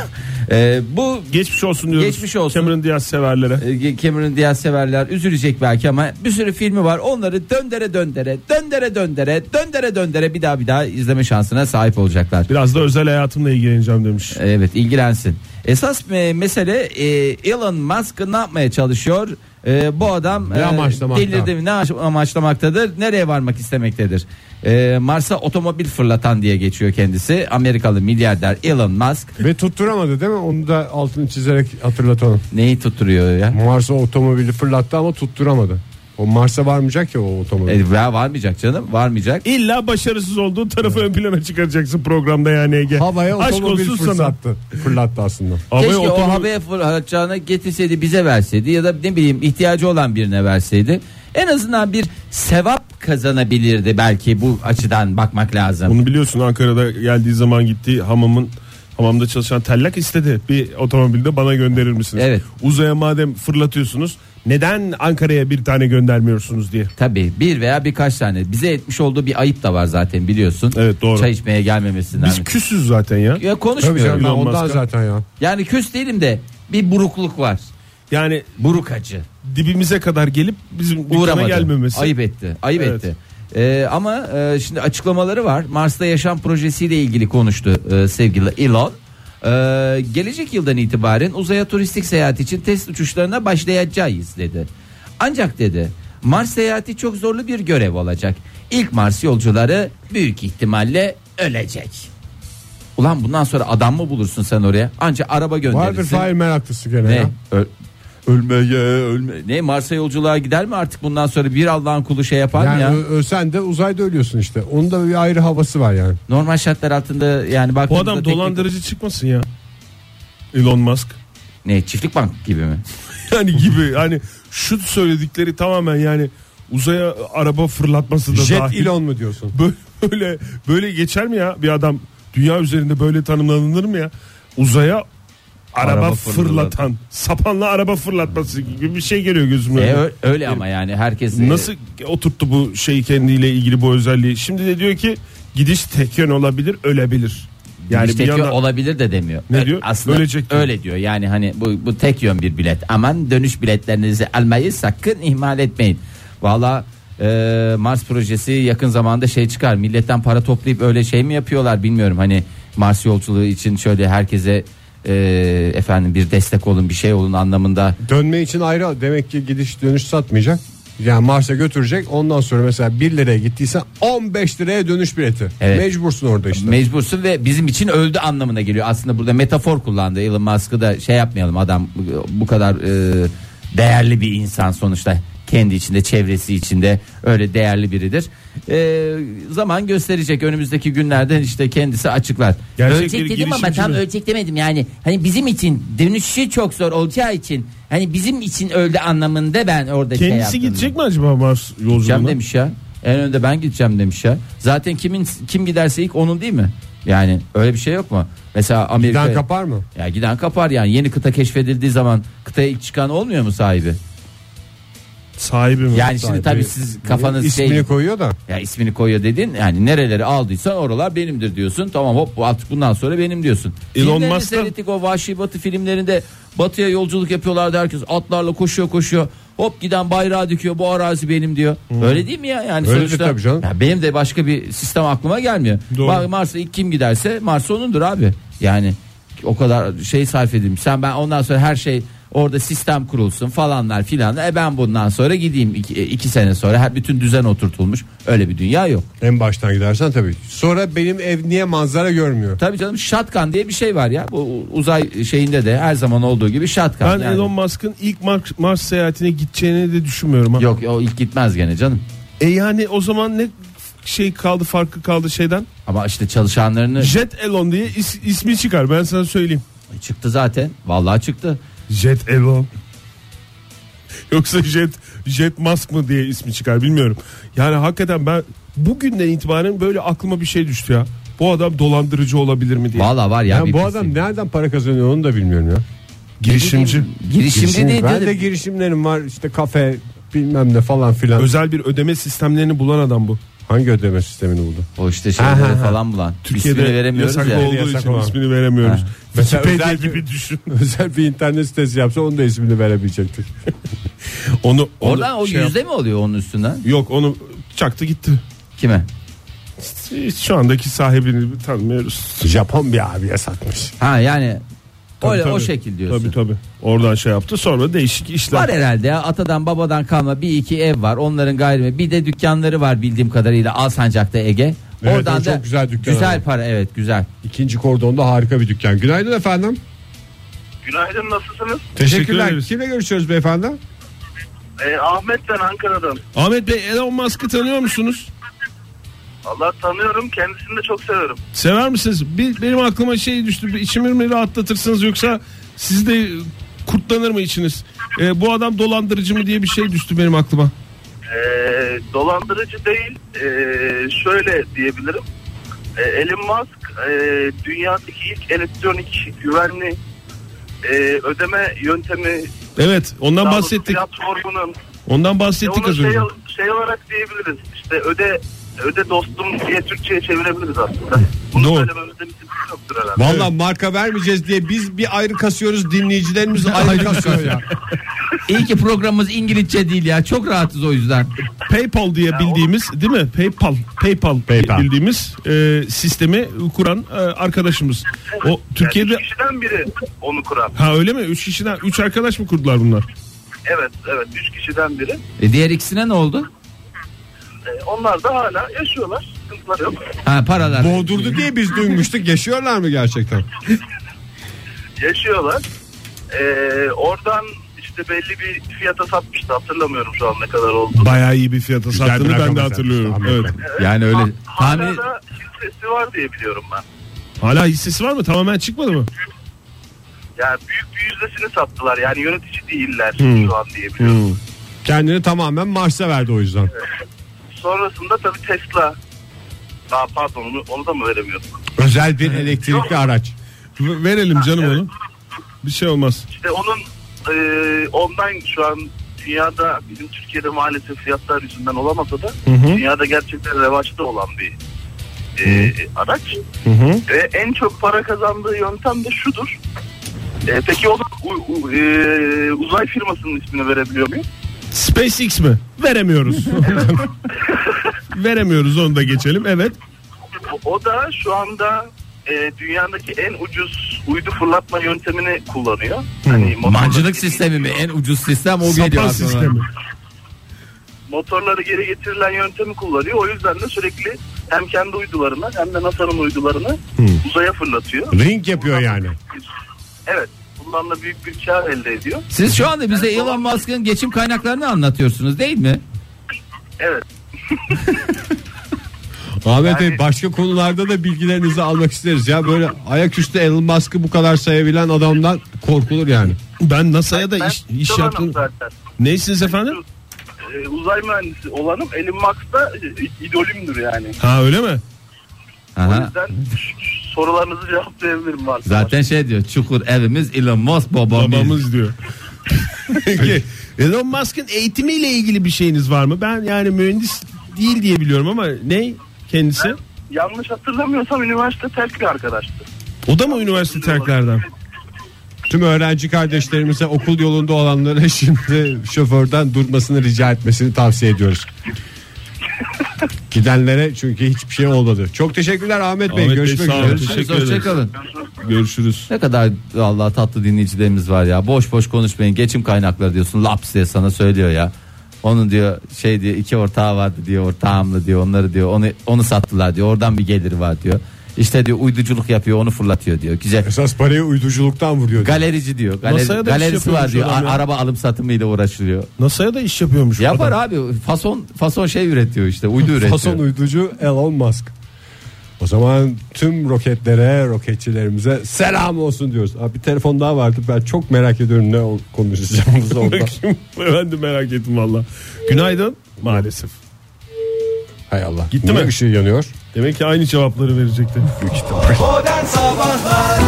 Speaker 4: E, bu
Speaker 5: Geçmiş olsun diyoruz.
Speaker 4: Geçmiş olsun.
Speaker 5: Cameron Diaz severlere.
Speaker 4: e, Cameron Diaz severler üzülecek belki ama bir sürü filmi var. Onları döndere döndere, döndere döndere, döndere döndere bir daha bir daha izleme şansına sahip olacaklar.
Speaker 5: Biraz da özel hayatımla ilgileneceğim demiş.
Speaker 4: Evet ilgilensin. Esas e, mesele e, Elon Musk ne yapmaya çalışıyor? E, bu adam
Speaker 3: Ne amaçlamakta?
Speaker 4: delirdi mi? Ne amaç- amaçlamaktadır? Nereye varmak istemektedir? E, Mars'a otomobil fırlatan diye geçiyor kendisi. Amerikalı milyarder Elon Musk
Speaker 3: Ve tutturamadı değil mi? Onu da altını çizerek hatırlatalım.
Speaker 4: neyi tutturuyor ya?
Speaker 3: Mars'a otomobili fırlattı ama tutturamadı. O Mars'a varmayacak ya o otomobil.
Speaker 4: E, ya varmayacak canım, varmayacak.
Speaker 5: İlla başarısız olduğu tarafı ön plana çıkaracaksın programda yani Ege.
Speaker 3: Havaya
Speaker 5: Aşk
Speaker 3: otomobil
Speaker 5: olsun sana.
Speaker 3: fırlattı. Fırlattı aslında.
Speaker 5: Havaya
Speaker 4: Keşke
Speaker 5: otomobil-
Speaker 4: o havaya fırlatacağına getirseydi bize verseydi ya da ne bileyim ihtiyacı olan birine verseydi. En azından bir sevap kazanabilirdi belki bu açıdan bakmak lazım.
Speaker 5: Bunu biliyorsun Ankara'da geldiği zaman gittiği hamamın hamamda çalışan tellak istedi. Bir otomobilde bana gönderir misiniz?
Speaker 4: Evet.
Speaker 5: Uzaya madem fırlatıyorsunuz neden Ankara'ya bir tane göndermiyorsunuz diye.
Speaker 4: Tabii bir veya birkaç tane. Bize etmiş olduğu bir ayıp da var zaten biliyorsun.
Speaker 5: Evet, doğru.
Speaker 4: Çay içmeye gelmemesinden.
Speaker 5: Biz küsüz zaten ya.
Speaker 4: ya
Speaker 3: Tabii canım
Speaker 4: konuşmuyorum.
Speaker 3: ben
Speaker 5: Elon
Speaker 3: ondan
Speaker 5: Musk'a.
Speaker 3: zaten ya.
Speaker 4: Yani küs değilim de bir burukluk var.
Speaker 5: Yani
Speaker 4: Buruk acı.
Speaker 5: dibimize kadar gelip bizim dükkana
Speaker 4: Uğramadı.
Speaker 5: gelmemesi.
Speaker 4: Ayıp etti. Ayıp
Speaker 5: Evet.
Speaker 4: etti. Ee, ama e, şimdi açıklamaları var. Mars'ta yaşam projesiyle ilgili konuştu e, sevgili Elon. Ee, gelecek yıldan itibaren uzaya turistik seyahat için test uçuşlarına başlayacağız dedi. Ancak dedi Mars seyahati çok zorlu bir görev olacak. İlk Mars yolcuları büyük ihtimalle ölecek. Ulan bundan sonra adam mı bulursun sen oraya? Anca araba
Speaker 3: Vardır
Speaker 4: gönderirsin.
Speaker 3: Fahir meraklısı gene
Speaker 4: Ne?
Speaker 3: ya.
Speaker 4: Ö- ölmeye ölme. Ne Mars'a yolculuğa gider mi artık bundan sonra bir Allah'ın kulu şey yapar mı
Speaker 3: Yani
Speaker 4: ya?
Speaker 3: ö- ölsen de uzayda ölüyorsun işte. Onun da bir ayrı havası var yani.
Speaker 4: Normal şartlar altında yani bak
Speaker 5: Bu adam dolandırıcı çıkmasın ya. Elon Musk.
Speaker 4: Ne çiftlik bank gibi mi?
Speaker 5: Yani gibi hani şu söyledikleri tamamen yani uzaya araba fırlatması da
Speaker 3: Jet
Speaker 5: dahil.
Speaker 3: Elon mu diyorsun?
Speaker 5: Böyle, böyle böyle geçer mi ya bir adam dünya üzerinde böyle tanımlanır mı ya? Uzaya araba,
Speaker 4: Araba
Speaker 5: fırlatan,
Speaker 4: fırlatan.
Speaker 5: sapanla araba fırlatması gibi bir şey geliyor gözüme.
Speaker 4: E, ö- öyle ama yani herkes e,
Speaker 5: Nasıl oturttu bu şeyi kendiyle ilgili bu özelliği? Şimdi de diyor ki gidiş tek yön olabilir, ölebilir.
Speaker 4: yani
Speaker 5: Yani bir yana
Speaker 4: olabilir de demiyor.
Speaker 5: Ne
Speaker 4: Ö-
Speaker 5: diyor?
Speaker 4: Aslında
Speaker 5: Ölecek diyor.
Speaker 4: öyle diyor. Yani hani bu, bu tek yön bir bilet. Aman dönüş biletlerinizi almayı sakın ihmal etmeyin. Valla e, Mars projesi yakın zamanda şey çıkar. Milletten para toplayıp öyle şey mi yapıyorlar bilmiyorum. Hani Mars yolculuğu için şöyle herkese e, efendim bir destek olun bir şey olun anlamında.
Speaker 3: Dönme için ayrı demek ki gidiş dönüş satmayacak. Yani Mars'a götürecek. Ondan sonra mesela 1 liraya gittiysen 15 liraya dönüş bileti.
Speaker 4: Evet.
Speaker 3: Mecbursun orada işte.
Speaker 4: Mecbursun ve bizim için öldü anlamına geliyor. Aslında burada metafor kullandı Elon Musk'ı da şey yapmayalım adam bu kadar e, değerli bir insan sonuçta kendi içinde çevresi içinde öyle değerli biridir. E, zaman gösterecek önümüzdeki günlerden işte kendisi açıklar.
Speaker 5: Gerçek
Speaker 6: ölecek
Speaker 5: bir
Speaker 6: dedim ama
Speaker 5: girişimci
Speaker 6: tam
Speaker 5: mi?
Speaker 6: ölecek demedim yani. Hani bizim için dönüşü çok zor olacağı için hani bizim için öldü anlamında ben orada şey
Speaker 5: kendisi
Speaker 6: yaptım.
Speaker 5: gidecek mi acaba Mars
Speaker 4: Gideceğim
Speaker 5: yolculuğuna?
Speaker 4: demiş ya. En önde ben gideceğim demiş ya. Zaten kimin kim giderse ilk onun değil mi? Yani öyle bir şey yok mu? Mesela Amerika
Speaker 3: Giden kapar mı?
Speaker 4: Ya giden kapar yani yeni kıta keşfedildiği zaman kıtaya ilk çıkan olmuyor mu sahibi?
Speaker 5: Sahibi mi?
Speaker 4: Yani şimdi
Speaker 5: Sahibi.
Speaker 4: tabii siz kafanız
Speaker 3: İsmini
Speaker 4: şey
Speaker 3: koyuyor da.
Speaker 4: ya ismini koyuyor dedin yani nereleri aldıysan oralar benimdir diyorsun tamam hop artık bundan sonra benim diyorsun.
Speaker 5: Elon
Speaker 4: Filmlerini
Speaker 5: Musk da-
Speaker 4: seyrettik o vahşi batı filmlerinde batıya yolculuk yapıyorlardı herkes atlarla koşuyor koşuyor hop giden bayrağı dikiyor bu arazi benim diyor. Öyle değil mi ya yani
Speaker 3: Öyle
Speaker 4: sonuçta
Speaker 3: tabii canım.
Speaker 4: Ya benim de başka bir sistem aklıma gelmiyor.
Speaker 5: Doğru.
Speaker 4: Bak Mars'a ilk kim giderse Mars onundur abi yani o kadar şey sarf edeyim sen ben ondan sonra her şey orada sistem kurulsun falanlar filan e ben bundan sonra gideyim iki, e, iki sene sonra her bütün düzen oturtulmuş öyle bir dünya yok.
Speaker 3: En baştan gidersen tabii. Sonra benim ev niye manzara görmüyor?
Speaker 4: Tabii canım şatkan diye bir şey var ya. Bu uzay şeyinde de her zaman olduğu gibi şatkan.
Speaker 5: Ben
Speaker 4: yani.
Speaker 5: Elon Musk'ın ilk Mars, Mars seyahatine gideceğini de düşünmüyorum. Ha.
Speaker 4: Yok o ilk gitmez gene canım.
Speaker 5: E yani o zaman ne şey kaldı farkı kaldı şeyden?
Speaker 4: Ama işte çalışanlarını
Speaker 5: Jet Elon diye is- ismi çıkar ben sana söyleyeyim.
Speaker 4: çıktı zaten. Vallahi çıktı.
Speaker 5: Jet Elon. Yoksa Jet Jet Musk mı diye ismi çıkar bilmiyorum. Yani hakikaten ben bugünden itibaren böyle aklıma bir şey düştü ya. Bu adam dolandırıcı olabilir mi diye.
Speaker 4: Vallahi var ya.
Speaker 3: Yani
Speaker 4: bir
Speaker 3: bu
Speaker 4: pis-
Speaker 3: adam nereden para kazanıyor onu da bilmiyorum ya.
Speaker 5: Girişimci.
Speaker 4: Girişimci değil
Speaker 3: ben
Speaker 4: dedim.
Speaker 3: de girişimlerim var işte kafe bilmem ne falan filan.
Speaker 5: Özel bir ödeme sistemlerini bulan adam bu.
Speaker 3: Hangi ödeme sistemini buldu?
Speaker 4: O işte şeyleri
Speaker 3: Aha.
Speaker 4: falan bulan.
Speaker 5: Türkiye'de
Speaker 4: İsmini veremiyoruz
Speaker 5: yasak
Speaker 4: ya.
Speaker 5: olduğu
Speaker 3: Yasak
Speaker 5: için
Speaker 3: olan.
Speaker 5: ismini veremiyoruz.
Speaker 4: Ha.
Speaker 3: Mesela
Speaker 5: Wikipedia
Speaker 3: özel bir-
Speaker 5: gibi düşün.
Speaker 3: Özel bir internet sitesi yapsa onun da ismini verebilecektik.
Speaker 5: Onu, onu
Speaker 4: Oradan o
Speaker 5: şey yap-
Speaker 4: yüzde mi oluyor onun üstünden?
Speaker 5: Yok onu çaktı gitti.
Speaker 4: Kime?
Speaker 5: Şu andaki sahibini tanımıyoruz.
Speaker 3: Japon bir abiye satmış.
Speaker 4: Ha yani
Speaker 5: Tabii,
Speaker 4: öyle o
Speaker 5: tabii.
Speaker 4: şekil diyorsun.
Speaker 5: Tabii tabii. Oradan şey yaptı sonra değişik işler.
Speaker 4: Var herhalde ya atadan babadan kalma bir iki ev var onların gayrimenkul bir de dükkanları var bildiğim kadarıyla Alsancak'ta Ege.
Speaker 3: Evet, o çok güzel dükkan
Speaker 4: güzel
Speaker 3: abi.
Speaker 4: para evet güzel.
Speaker 3: İkinci kordonda harika bir dükkan. Günaydın efendim.
Speaker 6: Günaydın nasılsınız?
Speaker 3: Teşekkürler.
Speaker 5: ederiz.
Speaker 3: Kimle görüşüyoruz beyefendi?
Speaker 6: Ee, Ahmet ben Ankara'dan.
Speaker 5: Ahmet Bey Elon Musk'ı tanıyor musunuz?
Speaker 6: Allah tanıyorum kendisini de çok severim.
Speaker 5: Sever misiniz? Bir, benim aklıma şey düştü. Bir İçimi mi rahatlatırsınız yoksa siz de kurtlanır mı içiniz? Ee, bu adam dolandırıcı mı diye bir şey düştü benim aklıma.
Speaker 6: Ee, dolandırıcı değil ee, şöyle diyebilirim. Ee, Elon Musk ee, dünyadaki ilk elektronik güvenli ee, ödeme yöntemi
Speaker 5: Evet ondan
Speaker 6: daha doğrusu
Speaker 5: bahsettik.
Speaker 6: platformunun
Speaker 5: Ondan
Speaker 6: şey Ya
Speaker 5: bahsettik
Speaker 6: onu
Speaker 5: az
Speaker 6: şey,
Speaker 5: önce.
Speaker 6: şey olarak diyebiliriz işte öde öde dostum diye Türkçe'ye çevirebiliriz aslında. Bunu
Speaker 5: Doğru.
Speaker 6: söylememizde bir sıkıntı yoktur herhalde.
Speaker 3: Valla marka vermeyeceğiz diye biz bir ayrı kasıyoruz dinleyicilerimiz ayrı kasıyor ya.
Speaker 4: İyi ki programımız İngilizce değil ya çok rahatız o yüzden.
Speaker 5: PayPal diye bildiğimiz değil mi? PayPal, PayPal, diye
Speaker 3: PayPal.
Speaker 5: bildiğimiz e, sistemi kuran e, arkadaşımız. O Türkiye'de
Speaker 6: Yani üç kişiden biri onu kuran.
Speaker 5: ha öyle mi? Üç kişiden üç arkadaş mı kurdular bunlar?
Speaker 6: Evet evet üç kişiden biri.
Speaker 4: E diğer ikisine ne oldu?
Speaker 6: Ee, onlar da hala yaşıyorlar. Sıkıntılar yok.
Speaker 4: Ha paralar.
Speaker 3: Boğdurdu diye biz duymuştuk. Yaşıyorlar mı gerçekten?
Speaker 6: Yaşıyorlar. Ee, oradan işte belli bir fiyata satmıştı. Hatırlamıyorum şu an ne kadar oldu.
Speaker 5: Bayağı iyi bir fiyata sattığını
Speaker 3: bir
Speaker 5: ben de
Speaker 3: rakam
Speaker 5: hatırlıyorum.
Speaker 3: mesela.
Speaker 5: Evet.
Speaker 7: Yani öyle
Speaker 6: Hala
Speaker 4: Tahmin,
Speaker 6: da hissesi var diye biliyorum ben.
Speaker 5: Hala hissesi var mı? Tamamen çıkmadı mı?
Speaker 6: Yani büyük bir yüzdesini sattılar. Yani yönetici değiller şu an diye biliyorum.
Speaker 3: Kendini tamamen Mars'a verdi o yüzden.
Speaker 6: Sonrasında tabii Tesla. Aa, pardon onu, onu da mı veremiyorsun?
Speaker 3: Özel bir elektrikli araç.
Speaker 5: V- verelim canım onu. Bir şey olmaz.
Speaker 6: İşte onun e, ondan şu an dünyada bizim Türkiye'de maalesef fiyatlar yüzünden olamasa da dünyada gerçekten revaçta olan bir e, araç. Ve en çok para kazandığı yöntem de şudur. E, peki o da u- u- e, uzay firmasının ismini verebiliyor muyum?
Speaker 5: SpaceX mi? Veremiyoruz. Veremiyoruz onu da geçelim. Evet.
Speaker 6: O, o da şu anda e, dünyadaki en ucuz uydu fırlatma yöntemini kullanıyor. Hani motorları-
Speaker 4: mancınık sistemi mi en ucuz sistem o geliyor
Speaker 5: Sapan
Speaker 4: aklıma.
Speaker 5: sistemi.
Speaker 6: motorları geri getirilen yöntemi kullanıyor. O yüzden de sürekli hem kendi uydularını hem de NASA'nın uydularını
Speaker 5: Hmm.
Speaker 6: uzaya fırlatıyor.
Speaker 3: Ring yapıyor yani.
Speaker 6: Evet. Bundan da büyük bir kar elde ediyor.
Speaker 4: Siz şu anda bize Elon Musk'ın geçim kaynaklarını anlatıyorsunuz değil mi?
Speaker 6: Evet.
Speaker 3: Ahmet Bey başka konularda da bilgilerinizi almak isteriz ya. Böyle ayaküstü Elon Musk'ı bu kadar sayabilen adamdan korkulur yani.
Speaker 5: Ben NASA'ya da
Speaker 6: Ben
Speaker 5: iş, iş
Speaker 6: uzay
Speaker 5: yaptım.
Speaker 6: mühendisi zaten.
Speaker 5: Neysiniz efendim?
Speaker 6: Ee, uzay mühendisi olanım Elon Musk da e, idolümdür yani.
Speaker 5: Ha öyle mi?
Speaker 6: O
Speaker 4: Aha.
Speaker 6: yüzden ş- ş- sorularınızı cevaplayabilirim varsa.
Speaker 4: Zaten şey diyor çukur evimiz Elon Musk babamız.
Speaker 5: Babamız diyor. Peki Elon Musk'ın eğitimiyle ilgili bir şeyiniz var mı? Ben yani mühendis değil diye biliyorum ama ne kendisi?
Speaker 6: Yanlış hatırlamıyorsam üniversite terk bir arkadaştı.
Speaker 5: O da mı üniversite terklerden?
Speaker 3: Tüm öğrenci kardeşlerimize okul yolunda olanlara şimdi şoförden durmasını rica etmesini tavsiye ediyoruz. Gidenlere çünkü hiçbir şey olmadı. Çok teşekkürler Ahmet Bey.
Speaker 5: Ahmet Bey,
Speaker 3: Görüşmek
Speaker 5: sağ olun.
Speaker 3: üzere.
Speaker 5: Teşekkür ederiz.
Speaker 4: Hoşçakalın.
Speaker 5: Görüşürüz.
Speaker 4: Ne kadar Allah tatlı dinleyicilerimiz var ya. Boş boş konuşmayın. Geçim kaynakları diyorsun. Laps diye sana söylüyor ya. Onun diyor şey diyor iki ortağı vardı diyor ortağımla diyor onları diyor onu onu sattılar diyor oradan bir gelir var diyor. İşte diyor uyduculuk yapıyor onu fırlatıyor diyor. Güzel.
Speaker 3: Esas parayı uyduculuktan vuruyor.
Speaker 4: Galerici diyor. Galeri-
Speaker 5: Masaya da bir şey
Speaker 4: galerisi var diyor.
Speaker 5: yapıyormuş adam
Speaker 4: A-
Speaker 5: ya.
Speaker 4: Araba alım satımıyla uğraşılıyor.
Speaker 5: NASA'ya da iş yapıyormuş. bu
Speaker 4: Yapar
Speaker 5: adam.
Speaker 4: abi. Fason fason şey üretiyor işte. Uydu üretiyor.
Speaker 3: Fason uyducu Elon Musk. O zaman tüm roketlere, roketçilerimize selam olsun diyoruz. Abi bir telefon daha vardı. Ben çok merak ediyorum ne o- konuşacağımız orada.
Speaker 5: Bakayım. Ben de merak ettim valla. Günaydın. Maalesef.
Speaker 3: Hay Allah.
Speaker 5: Gitti
Speaker 3: Niye
Speaker 5: mi?
Speaker 3: ışığı yanıyor?
Speaker 5: Demek ki aynı cevapları verecekti.
Speaker 8: Modern Sabahlar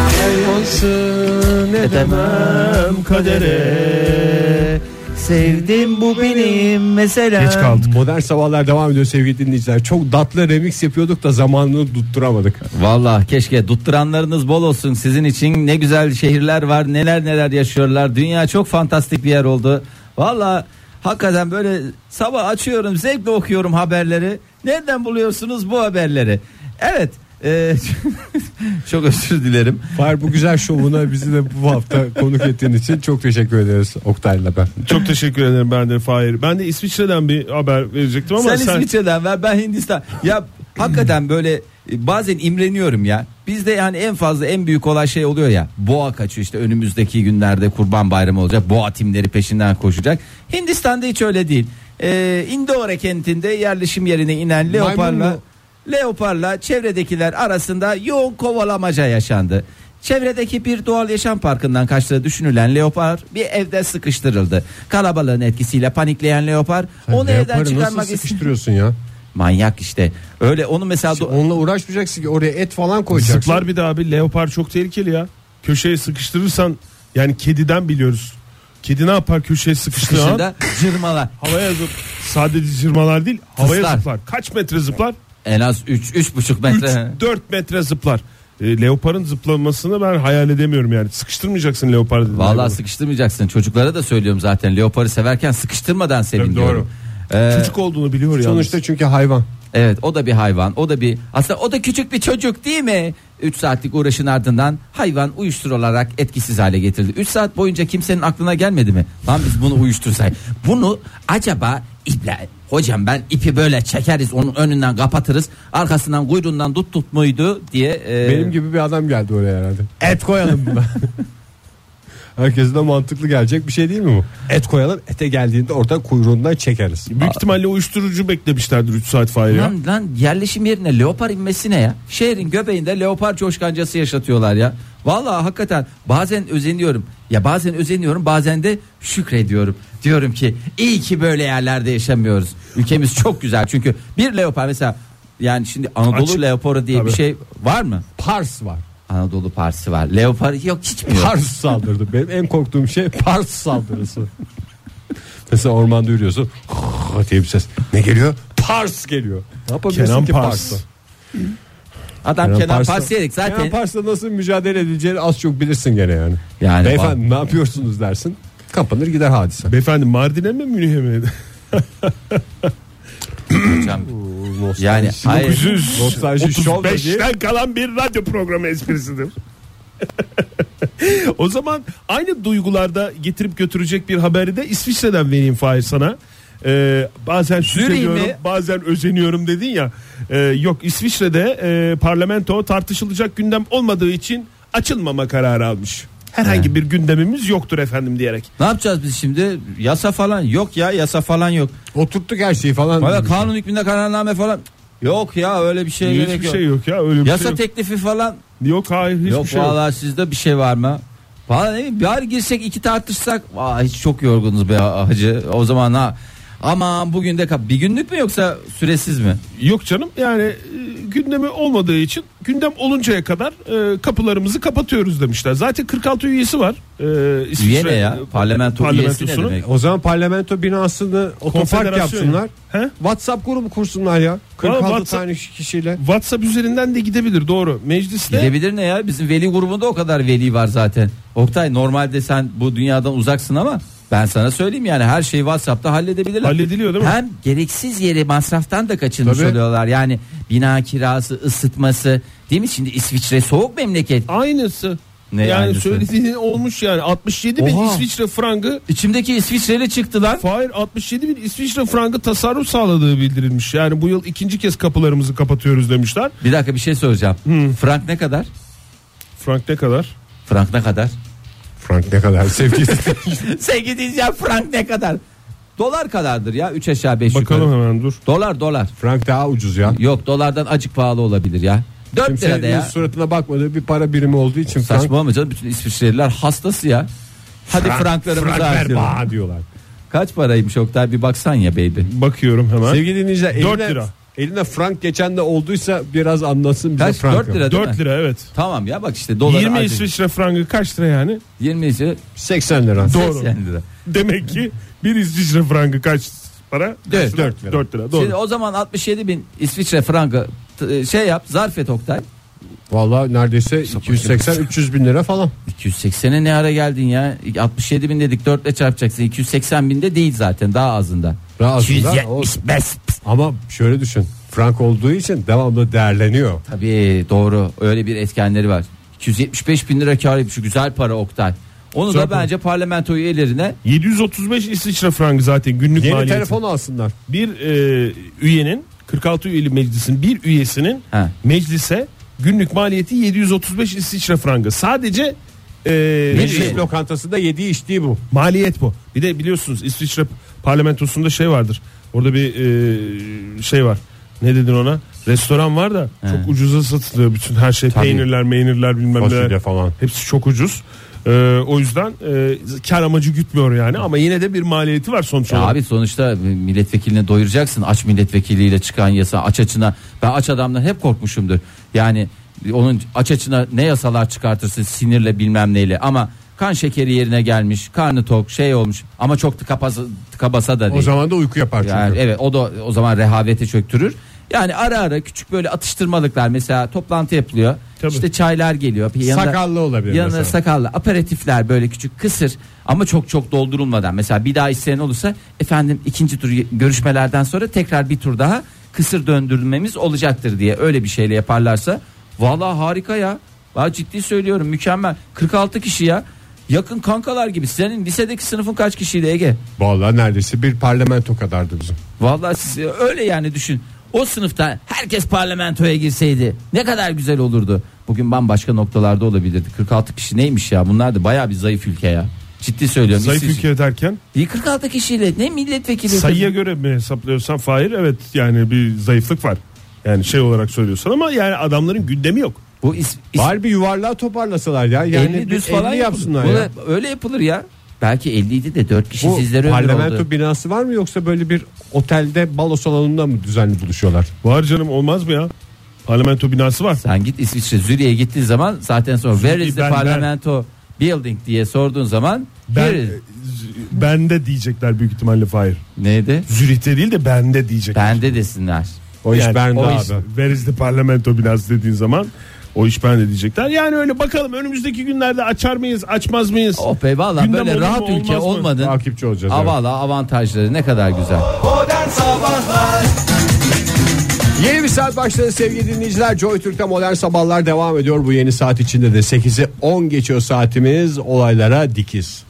Speaker 5: Edemem kadere.
Speaker 4: Sevdim bu benim mesela.
Speaker 5: Geç kaldık.
Speaker 3: Modern sabahlar devam ediyor sevgili dinleyiciler. Çok datlı remix yapıyorduk da zamanını tutturamadık.
Speaker 4: Valla keşke tutturanlarınız bol olsun sizin için ne güzel şehirler var neler neler yaşıyorlar dünya çok fantastik bir yer oldu Valla hakikaten böyle sabah açıyorum zevkle okuyorum haberleri nereden buluyorsunuz bu haberleri evet e, çok özür dilerim
Speaker 3: Var bu güzel şovuna bizi de bu hafta konuk ettiğin için çok teşekkür ederiz Oktay'la ben.
Speaker 5: Çok teşekkür ederim ben de Fahir. Ben de İsviçre'den bir haber verecektim ama sen,
Speaker 4: sen, İsviçre'den ver ben Hindistan. Ya hakikaten böyle e, bazen imreniyorum ya. Bizde yani en fazla en büyük olay şey oluyor ya. Boğa kaçıyor işte önümüzdeki günlerde kurban bayramı olacak. Boğa timleri peşinden koşacak. Hindistan'da hiç öyle değil. Ee, Indore kentinde yerleşim yerine inen leoparla
Speaker 3: mu?
Speaker 4: leoparla çevredekiler arasında yoğun kovalamaca yaşandı. Çevredeki bir doğal yaşam parkından kaçtığı düşünülen leopar bir evde sıkıştırıldı. Kalabalığın etkisiyle panikleyen leopar onu evden
Speaker 3: Leoparı
Speaker 4: çıkarmak
Speaker 3: nasıl
Speaker 4: için
Speaker 3: sıkıştırıyorsun ya?
Speaker 4: manyak işte. Öyle onu mesela do-
Speaker 3: Onunla uğraşmayacaksın ki oraya et falan koyacaksın.
Speaker 5: Zıplar bir de abi leopar çok tehlikeli ya. Köşeye sıkıştırırsan yani kediden biliyoruz. Kedi ne yapar köşeye sıkıştığı an
Speaker 4: dışında cırmala.
Speaker 5: havaya zıp sadece zırmalar değil havaya
Speaker 4: Tıslar.
Speaker 5: zıplar. Kaç metre zıplar?
Speaker 4: En az 3 3,5
Speaker 5: 3
Speaker 4: metre.
Speaker 5: 4 metre zıplar. E, leoparın zıplamasını ben hayal edemiyorum yani. Sıkıştırmayacaksın leopar dediler bana.
Speaker 4: Vallahi sıkıştırmayacaksın. Çocuklara da söylüyorum zaten. Leoparı severken sıkıştırmadan sevin
Speaker 5: Tabii doğru.
Speaker 4: diyorum. Ee,
Speaker 5: Çocuk olduğunu biliyor ya.
Speaker 3: Sonuçta çünkü hayvan.
Speaker 4: evet o da bir hayvan. O da bir aslında o da küçük bir çocuk değil mi? 3 saatlik uğraşın ardından hayvan uyuştur olarak etkisiz hale getirildi. 3 saat boyunca kimsenin aklına gelmedi mi? Lan biz bunu uyuştursak. Bunu acaba iple hocam ben ipi böyle çekeriz onun önünden kapatırız arkasından kuyruğundan tut tut muydu diye e,
Speaker 3: Benim gibi bir adam geldi oraya herhalde. Ee. Et koyalım buna. Herkese de mantıklı gelecek bir şey değil mi bu? Et koyalım ete geldiğinde orada kuyruğundan çekeriz.
Speaker 5: Büyük ihtimalle uyuşturucu beklemişlerdir 3 saat Fahir ya.
Speaker 4: Lan, lan yerleşim yerine leopar inmesi ne ya? Şehrin göbeğinde leopar coşkancası yaşatıyorlar ya. Vallahi hakikaten bazen özeniyorum. Ya bazen özeniyorum bazen de şükrediyorum. Diyorum ki iyi ki böyle yerlerde yaşamıyoruz. Ülkemiz çok güzel çünkü bir leopar mesela yani şimdi Anadolu
Speaker 5: Açık.
Speaker 4: leoparı diye
Speaker 5: Tabii.
Speaker 4: bir şey var mı?
Speaker 3: Pars var.
Speaker 4: Anadolu parsi var. Leopar yok hiç mi yok?
Speaker 3: Pars saldırdı. Benim en korktuğum şey pars saldırısı. Mesela ormanda yürüyorsun. diye bir ses. Ne geliyor? Pars geliyor. Ne yapabilirsin
Speaker 5: Kenan
Speaker 3: ki
Speaker 5: Pars.
Speaker 3: Pars'la?
Speaker 4: Adam
Speaker 3: Kenan
Speaker 4: Kenan
Speaker 3: Pars'la-
Speaker 4: Parsi dedik zaten.
Speaker 3: Kenan Pars'la nasıl mücadele edileceğini az çok bilirsin gene yani.
Speaker 4: Yani
Speaker 5: Hani
Speaker 3: Beyefendi ne yapıyorsunuz dersin. Kapanır gider hadise.
Speaker 5: Beyefendi Mardin'e mi Münih'e mi?
Speaker 4: hocam. Yani hayır.
Speaker 5: 1935'ten kalan bir radyo programı esprisidir. o zaman aynı duygularda getirip götürecek bir haberi de İsviçre'den vereyim Fahir sana. Ee, bazen şükrediyorum
Speaker 4: mi?
Speaker 5: bazen özeniyorum dedin ya. Ee, yok İsviçre'de e, parlamento tartışılacak gündem olmadığı için açılmama kararı almış. Herhangi bir gündemimiz yoktur efendim diyerek.
Speaker 4: Ne yapacağız biz şimdi? Yasa falan yok ya yasa falan yok.
Speaker 3: Oturttuk her şeyi falan.
Speaker 4: Valla kanun hükmünde kararname falan yok ya öyle bir şey gerek
Speaker 5: şey? Hiçbir
Speaker 4: yok.
Speaker 5: şey yok ya öyle bir
Speaker 4: Yasa
Speaker 5: şey yok.
Speaker 4: teklifi falan
Speaker 5: Yok hayır hiçbir
Speaker 4: yok
Speaker 5: şey yok.
Speaker 4: valla sizde bir şey var mı? Valla ne bileyim bari girsek iki tartışsak Aa, hiç çok yorgunuz be hacı o zaman ha. Aman bugün de kap- bir günlük mü yoksa süresiz mi?
Speaker 5: Yok canım yani e, gündemi olmadığı için gündem oluncaya kadar e, kapılarımızı kapatıyoruz demişler. Zaten 46 üyesi var. E, İsviçre e,
Speaker 4: Üye ne ya? Parlamento üyesi ne
Speaker 5: parlamentosunun.
Speaker 4: demek?
Speaker 3: O zaman parlamento binasını otopark
Speaker 5: Konfederasyon
Speaker 3: yapsınlar.
Speaker 5: ya. He?
Speaker 3: WhatsApp grubu kursunlar ya. 46
Speaker 5: WhatsApp-
Speaker 3: tane kişiyle.
Speaker 5: WhatsApp üzerinden de gidebilir doğru. Mecliste
Speaker 4: Gidebilir ne ya? Bizim veli grubunda o kadar veli var zaten. Oktay normalde sen bu dünyadan uzaksın ama ben sana söyleyeyim yani her şeyi WhatsApp'ta halledebilirler.
Speaker 5: Hallediliyor değil mi?
Speaker 4: Hem gereksiz yere masraftan da kaçınmış
Speaker 3: Tabii.
Speaker 4: oluyorlar. Yani bina kirası, ısıtması değil mi? Şimdi İsviçre soğuk memleket.
Speaker 5: aynısı.
Speaker 4: Ne
Speaker 5: yani
Speaker 4: aynısı?
Speaker 5: söylediğin olmuş yani 67 bin
Speaker 4: Oha.
Speaker 5: İsviçre frangı
Speaker 4: İçimdeki İsviçreli çıktı lan.
Speaker 5: Fahir 67 bin İsviçre frangı tasarruf sağladığı bildirilmiş. Yani bu yıl ikinci kez kapılarımızı kapatıyoruz demişler.
Speaker 4: Bir dakika bir şey soracağım. Frank ne kadar?
Speaker 5: Frank ne kadar?
Speaker 4: Frank ne kadar?
Speaker 3: Frank ne kadar sevgili.
Speaker 4: Sevgili dinleyiciler frank ne kadar? Dolar kadardır ya 3 aşağı 5 yukarı.
Speaker 5: Bakalım hemen dur.
Speaker 4: Dolar dolar.
Speaker 3: Frank daha ucuz ya.
Speaker 4: Yok dolardan acık pahalı olabilir ya. 4 lira de
Speaker 3: Kimsenin
Speaker 4: ya.
Speaker 3: suratına bakmadığı bir para birimi olduğu için Frank,
Speaker 4: Saçmalama canım bütün İsviçreliler hastası ya. Hadi franklarımızı
Speaker 3: Frank ver
Speaker 4: harcayalım.
Speaker 3: bana diyorlar.
Speaker 4: Kaç paraymış Oktay bir baksan ya baby.
Speaker 5: Bakıyorum hemen.
Speaker 3: Sevgili dinleyiciler
Speaker 5: Dört
Speaker 3: eline,
Speaker 5: lira.
Speaker 3: eline frank geçen de olduysa biraz anlatsın bize
Speaker 4: Kaç?
Speaker 3: frank.
Speaker 4: 4 lira değil
Speaker 5: 4
Speaker 4: mi?
Speaker 5: lira evet.
Speaker 4: Tamam ya bak işte dolar
Speaker 5: 20
Speaker 4: acık.
Speaker 5: İsviçre frangı kaç lira yani?
Speaker 4: 20 ise
Speaker 3: 80 lira.
Speaker 4: 80 lira.
Speaker 5: Demek ki bir İsviçre frangı kaç para?
Speaker 4: Evet,
Speaker 3: dört lira.
Speaker 5: 4 lira doğru.
Speaker 4: Şimdi o zaman 67 bin İsviçre frangı t- şey yap zarf et Oktay.
Speaker 3: Vallahi neredeyse 280-300 bin lira falan.
Speaker 4: 280'e ne ara geldin ya? 67 bin dedik 4 ile çarpacaksın. 280 bin de değil zaten daha azında.
Speaker 3: Rahatsızlar.
Speaker 4: 275.
Speaker 3: Ama şöyle düşün. Frank olduğu için devamlı değerleniyor.
Speaker 4: Tabii doğru öyle bir etkenleri var. 275 bin lira kar yapmış güzel para Oktay. Onu da
Speaker 5: para.
Speaker 4: bence parlamento üyelerine
Speaker 5: 735 İsviçre frangı zaten günlük
Speaker 3: Yeni
Speaker 5: maliyeti.
Speaker 3: telefon alsınlar.
Speaker 5: Bir e, üyenin 46 üyeli meclisin bir üyesinin
Speaker 4: He.
Speaker 5: meclise günlük maliyeti 735 İsviçre frangı. Sadece e,
Speaker 4: Bir şey.
Speaker 3: Bir
Speaker 4: üye.
Speaker 3: lokantasında yediği içtiği bu.
Speaker 5: maliyet bu. Bir de biliyorsunuz İsviçre parlamentosunda şey vardır. Orada bir e, şey var. Ne dedin ona? Restoran var da çok ucuza satılıyor bütün her şey. Peynirler, meynirler bilmem neler.
Speaker 3: Fasulye falan.
Speaker 5: Hepsi çok ucuz. Ee, o yüzden e, kar amacı gütmüyor yani ama yine de bir maliyeti var sonuç
Speaker 4: Ya
Speaker 5: olarak.
Speaker 4: abi sonuçta milletvekiline doyuracaksın. Aç milletvekiliyle çıkan yasa aç açına. Ben aç adamdan hep korkmuşumdur. Yani onun aç açına ne yasalar çıkartırsın sinirle bilmem neyle ama kan şekeri yerine gelmiş, karnı tok, şey olmuş ama çok tıka basa, tıka basa da
Speaker 3: O
Speaker 4: değil.
Speaker 3: zaman da uyku yapar çünkü.
Speaker 4: Yani evet o da o zaman rehavete çöktürür. Yani ara ara küçük böyle atıştırmalıklar mesela toplantı yapılıyor.
Speaker 5: Tabii.
Speaker 4: İşte çaylar geliyor. Bir
Speaker 3: Sakallı olabilir
Speaker 4: Yanına
Speaker 3: mesela.
Speaker 4: sakallı aperatifler böyle küçük kısır ama çok çok doldurulmadan. Mesela bir daha isteyen olursa efendim ikinci tur görüşmelerden sonra tekrar bir tur daha kısır döndürülmemiz olacaktır diye öyle bir şeyle yaparlarsa valla harika ya. Valla ciddi söylüyorum mükemmel. 46 kişi ya. Yakın kankalar gibi. Senin lisedeki sınıfın kaç kişiydi Ege?
Speaker 3: Vallahi neredeyse bir parlamento kadardı bizim.
Speaker 4: Vallahi siz öyle yani düşün. O sınıfta herkes parlamentoya girseydi ne kadar güzel olurdu. Bugün bambaşka noktalarda olabilirdi. 46 kişi neymiş ya? Bunlar da bayağı bir zayıf ülke ya. Ciddi söylüyorum.
Speaker 5: Zayıf
Speaker 4: İsviçre-
Speaker 5: ülke derken
Speaker 4: İyi 46 kişiyle ne milletvekili?
Speaker 5: sayıya göre mi hesaplıyorsan Fahir evet yani bir zayıflık var. Yani şey olarak söylüyorsun ama yani adamların gündemi yok.
Speaker 4: Bu is, is,
Speaker 3: Bari bir yuvarlığa toparlasalar ya. Yani
Speaker 4: 50
Speaker 3: bir
Speaker 4: düz falan
Speaker 3: 50 yapsınlar
Speaker 4: yapılır.
Speaker 3: ya.
Speaker 4: Bu da- Öyle yapılır ya. Belki 50 idi de 4 kişi
Speaker 3: Bu
Speaker 4: sizlere ömür
Speaker 3: parlamento
Speaker 4: oldu.
Speaker 3: binası var mı yoksa böyle bir otelde balo salonunda mı düzenli buluşuyorlar?
Speaker 5: Var canım olmaz mı ya? Parlamento binası var.
Speaker 4: Sen git İsviçre Zürich'e gittiğin zaman zaten sonra where is the
Speaker 5: ben- ben-
Speaker 4: parlamento building diye sorduğun zaman
Speaker 5: Ben,
Speaker 4: here is-
Speaker 5: bende diyecekler büyük ihtimalle Fahir.
Speaker 4: neydi?
Speaker 5: Zürih'te değil de bende diyecekler.
Speaker 4: Bende desinler.
Speaker 3: O iş
Speaker 5: Yani
Speaker 3: bende
Speaker 5: o
Speaker 3: abi.
Speaker 5: iş- where is the parlamento binası dediğin zaman o iş bende diyecekler. Yani öyle bakalım önümüzdeki günlerde açar mıyız açmaz mıyız?
Speaker 4: Oh be valla
Speaker 5: Gündem
Speaker 4: böyle
Speaker 5: olur mu,
Speaker 4: rahat ülke
Speaker 5: olmaz mı?
Speaker 4: olmadın.
Speaker 3: Takipçi olacağız. evet.
Speaker 4: Avala avantajları ne kadar güzel.
Speaker 9: Modern Sabahlar
Speaker 3: Yeni bir saat başladı sevgili dinleyiciler. Joy Türk'te modern sabahlar devam ediyor. Bu yeni saat içinde de 8'i 10 geçiyor saatimiz. Olaylara dikiz.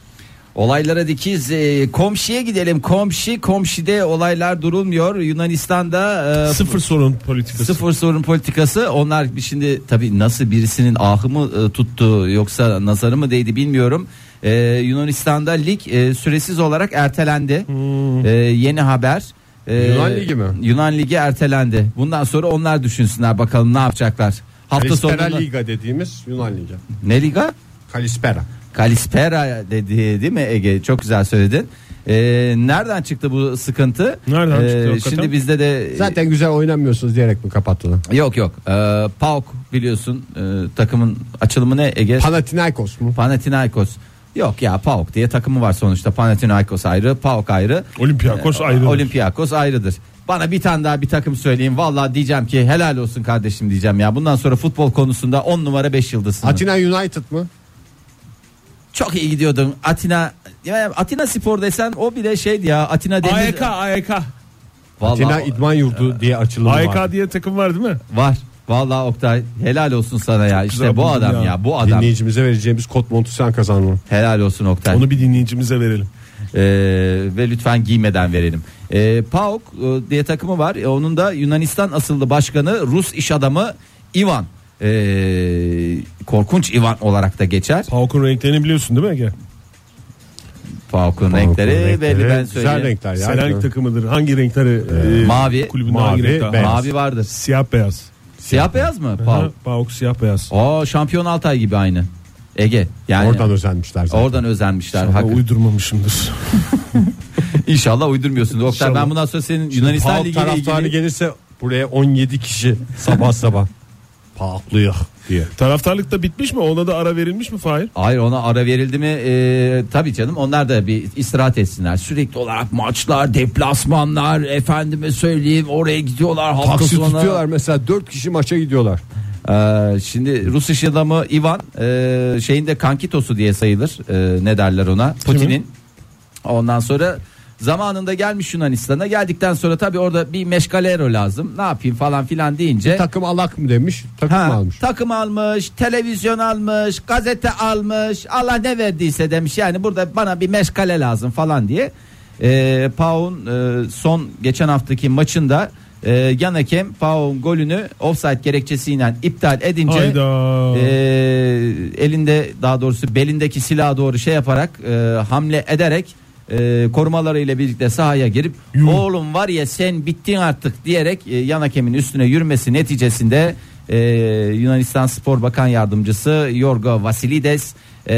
Speaker 4: Olaylara dikiz e, komşuya gidelim. Komşi komşide olaylar durulmuyor. Yunanistan'da e,
Speaker 5: Sıfır sorun politikası.
Speaker 4: sıfır sorun politikası. Onlar şimdi tabii nasıl birisinin ahı mı e, tuttu yoksa nazarı mı değdi bilmiyorum. E, Yunanistan'da lig e, süresiz olarak ertelendi.
Speaker 5: Hmm.
Speaker 4: E, yeni haber. E,
Speaker 3: Yunan Ligi mi?
Speaker 4: Yunan Ligi ertelendi. Bundan sonra onlar düşünsünler bakalım ne yapacaklar. Hafta
Speaker 3: Kalispera
Speaker 4: sonunda
Speaker 3: Liga dediğimiz Yunan Ligi.
Speaker 4: ne liga?
Speaker 3: Kalispera.
Speaker 4: Kalispera dedi değil mi Ege? Çok güzel söyledin. E, nereden çıktı bu sıkıntı?
Speaker 5: Nereden
Speaker 4: E,
Speaker 5: çıktı hakikaten?
Speaker 4: Şimdi bizde de
Speaker 3: Zaten güzel oynamıyorsunuz diyerek mi kapattılar?
Speaker 4: yok yok. E, PAOK biliyorsun e, takımın açılımı ne Ege?
Speaker 3: Panathinaikos mu?
Speaker 4: Panathinaikos. Yok ya PAOK diye takımı var sonuçta. Panathinaikos ayrı, PAOK ayrı.
Speaker 5: Olympiakos
Speaker 4: Ee,
Speaker 5: ayrıdır.
Speaker 4: Olympiakos ayrıdır. Bana bir tane daha bir takım söyleyeyim. Vallahi diyeceğim ki helal olsun kardeşim diyeceğim ya. Bundan sonra futbol konusunda 10 numara 5 yıldızsın.
Speaker 3: Atina United mı?
Speaker 4: Çok iyi gidiyordun. Atina ya Atina Spor desen o bile şeydi ya. Atina Demir.
Speaker 5: AYK AYK.
Speaker 4: Vallahi Ee,
Speaker 3: Atina İdman Yurdu diye açılımı var.
Speaker 5: AYK diye takım var değil mi?
Speaker 4: var. Vallahi Oktay helal olsun sana ya.
Speaker 5: güzel
Speaker 4: İşte bu
Speaker 5: buldun
Speaker 4: adam ya.
Speaker 5: ya.
Speaker 4: Bu adam.
Speaker 3: Dinleyicimize vereceğimiz kot montu sen kazandın.
Speaker 4: Helal olsun Oktay.
Speaker 5: Onu bir dinleyicimize verelim.
Speaker 4: Ee, ve lütfen giymeden verelim. Ee, PAOK e, diye takımı var. E, onun da Yunanistan asıllı başkanı Rus iş adamı Ivan. Ee, korkunç Ivan olarak da geçer.
Speaker 5: Pauk'un renklerini biliyorsun değil mi Ege?
Speaker 4: PAOK'un renkleri, belli ben
Speaker 3: Güzel
Speaker 4: söyleyeyim.
Speaker 3: renkler ya.
Speaker 5: Selanik takımıdır. Hangi renkleri? e,
Speaker 4: mavi,
Speaker 5: kulübünde
Speaker 3: mavi,
Speaker 5: hangi renkler?
Speaker 3: beyaz.
Speaker 4: Mavi vardır.
Speaker 5: Siyah beyaz.
Speaker 4: Siyah beyaz mı
Speaker 5: Pauk.
Speaker 4: PAOK?
Speaker 5: siyah beyaz.
Speaker 4: Aa şampiyon Altay gibi aynı. Ege. Yani
Speaker 3: Oradan
Speaker 4: oradan,
Speaker 3: özenmişler zaten.
Speaker 4: özenmişler.
Speaker 5: Ama
Speaker 4: Hakikaten.
Speaker 5: uydurmamışımdır.
Speaker 4: İnşallah uydurmuyorsun. Oktay ben bundan sonra senin Yunanistan
Speaker 3: Pauk
Speaker 4: Ligi'yle
Speaker 3: taraftarı
Speaker 4: ilgili
Speaker 3: gelirse buraya 17 kişi sabah sabah pahaklıyor diye.
Speaker 5: Taraftarlık da bitmiş mi? Ona da ara verilmiş mi Fahir?
Speaker 4: Hayır ona ara verildi mi? Ee, tabii canım onlar da bir istirahat etsinler. Sürekli olarak maçlar, deplasmanlar, efendime söyleyeyim oraya gidiyorlar. hafta
Speaker 3: Taksi
Speaker 4: sonu.
Speaker 3: tutuyorlar mesela 4 kişi maça gidiyorlar.
Speaker 4: Ee, şimdi Rus iş adamı Ivan e, şeyin de kankitosu diye sayılır. E, ne derler ona? Putin'in. Ondan sonra zamanında gelmiş Yunanistan'a. Geldikten sonra tabii orada bir meşgalero lazım. Ne yapayım falan filan deyince.
Speaker 3: Takım alak mı demiş takım
Speaker 4: Ha,
Speaker 3: almış.
Speaker 4: takım almış, televizyon almış, gazete almış. Allah ne verdiyse demiş. Yani burada bana bir meşgale lazım falan diye. Ee, Pauk'un e, son geçen haftaki maçında e, yan hakem Pauk'un golünü offside gerekçesiyle iptal edince
Speaker 5: Hayda.
Speaker 4: e, elinde daha doğrusu belindeki silaha doğru şey yaparak e, hamle ederek e, korumalarıyla birlikte sahaya girip oğlum var ya sen bittin artık diyerek e, yan hakemin üstüne yürümesi neticesinde e, Yunanistan Spor Bakan Yardımcısı Yorgo Vasilides e,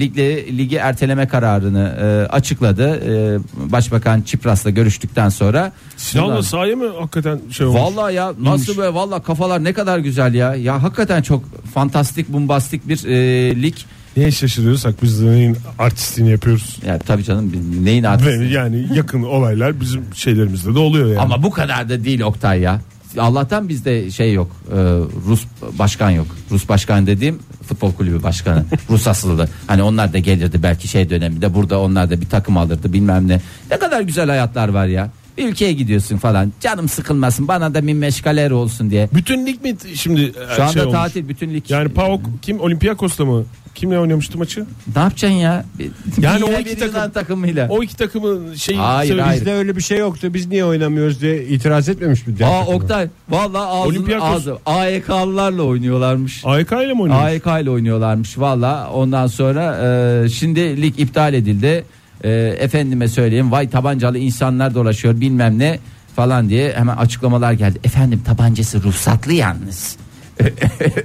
Speaker 4: ligli, ligi erteleme kararını e, açıkladı. E, Başbakan Çipras'la görüştükten sonra
Speaker 5: Silahla sahaya mı hakikaten şey olmuş?
Speaker 4: Vallahi ya nasıl böyle vallahi kafalar ne kadar güzel ya. Ya hakikaten çok fantastik bombastik bir e, lig.
Speaker 5: Neye şaşırıyorsak biz de neyin artistliğini yapıyoruz.
Speaker 4: Ya tabii canım biz neyin
Speaker 5: Ve
Speaker 4: artısı.
Speaker 5: yani yakın olaylar bizim şeylerimizde de oluyor yani.
Speaker 4: Ama bu kadar da değil Oktay ya. Allah'tan bizde şey yok. e, Rus başkan yok. Rus başkan dediğim futbol kulübü başkanı. Rus asıllı. Hani onlar da gelirdi belki şey döneminde. Burada onlar da bir takım alırdı bilmem ne. Ne kadar güzel hayatlar var ya. Bir ülkeye gidiyorsun falan. Canım sıkılmasın. Bana da bir meşgaler olsun diye.
Speaker 5: Bütün lig mi t- şimdi e,
Speaker 4: Şu anda
Speaker 5: şey olmuş?
Speaker 4: tatil bütün lig.
Speaker 5: Yani Paok kim Olympiakos'la mı? Kimle oynamıştı maçı?
Speaker 4: Ne yapacaksın ya? Bir-
Speaker 5: Yani
Speaker 4: bir
Speaker 5: o
Speaker 4: yine
Speaker 5: iki
Speaker 4: bir
Speaker 5: takım-
Speaker 4: Yunan takımıyla.
Speaker 5: O iki takımın şeyi
Speaker 4: Hayır,
Speaker 5: söyle-
Speaker 4: hayır.
Speaker 3: Bizde öyle bir şey yoktu biz niye oynamıyoruz diye E, itiraz etmemiş mi? diğer
Speaker 4: Aa
Speaker 3: takıma?
Speaker 4: Oktay vallahi ağzın
Speaker 5: Olympiakos.
Speaker 4: ağzı AYK'lılarla oynuyorlarmış.
Speaker 5: AYK ile mi oynuyor?
Speaker 4: AYK ile oynuyorlarmış valla. Ondan sonra e, şimdi lig iptal edildi. E, efendime söyleyeyim vay tabancalı insanlar dolaşıyor bilmem ne falan diye hemen açıklamalar geldi. Efendim tabancası ruhsatlı yalnız.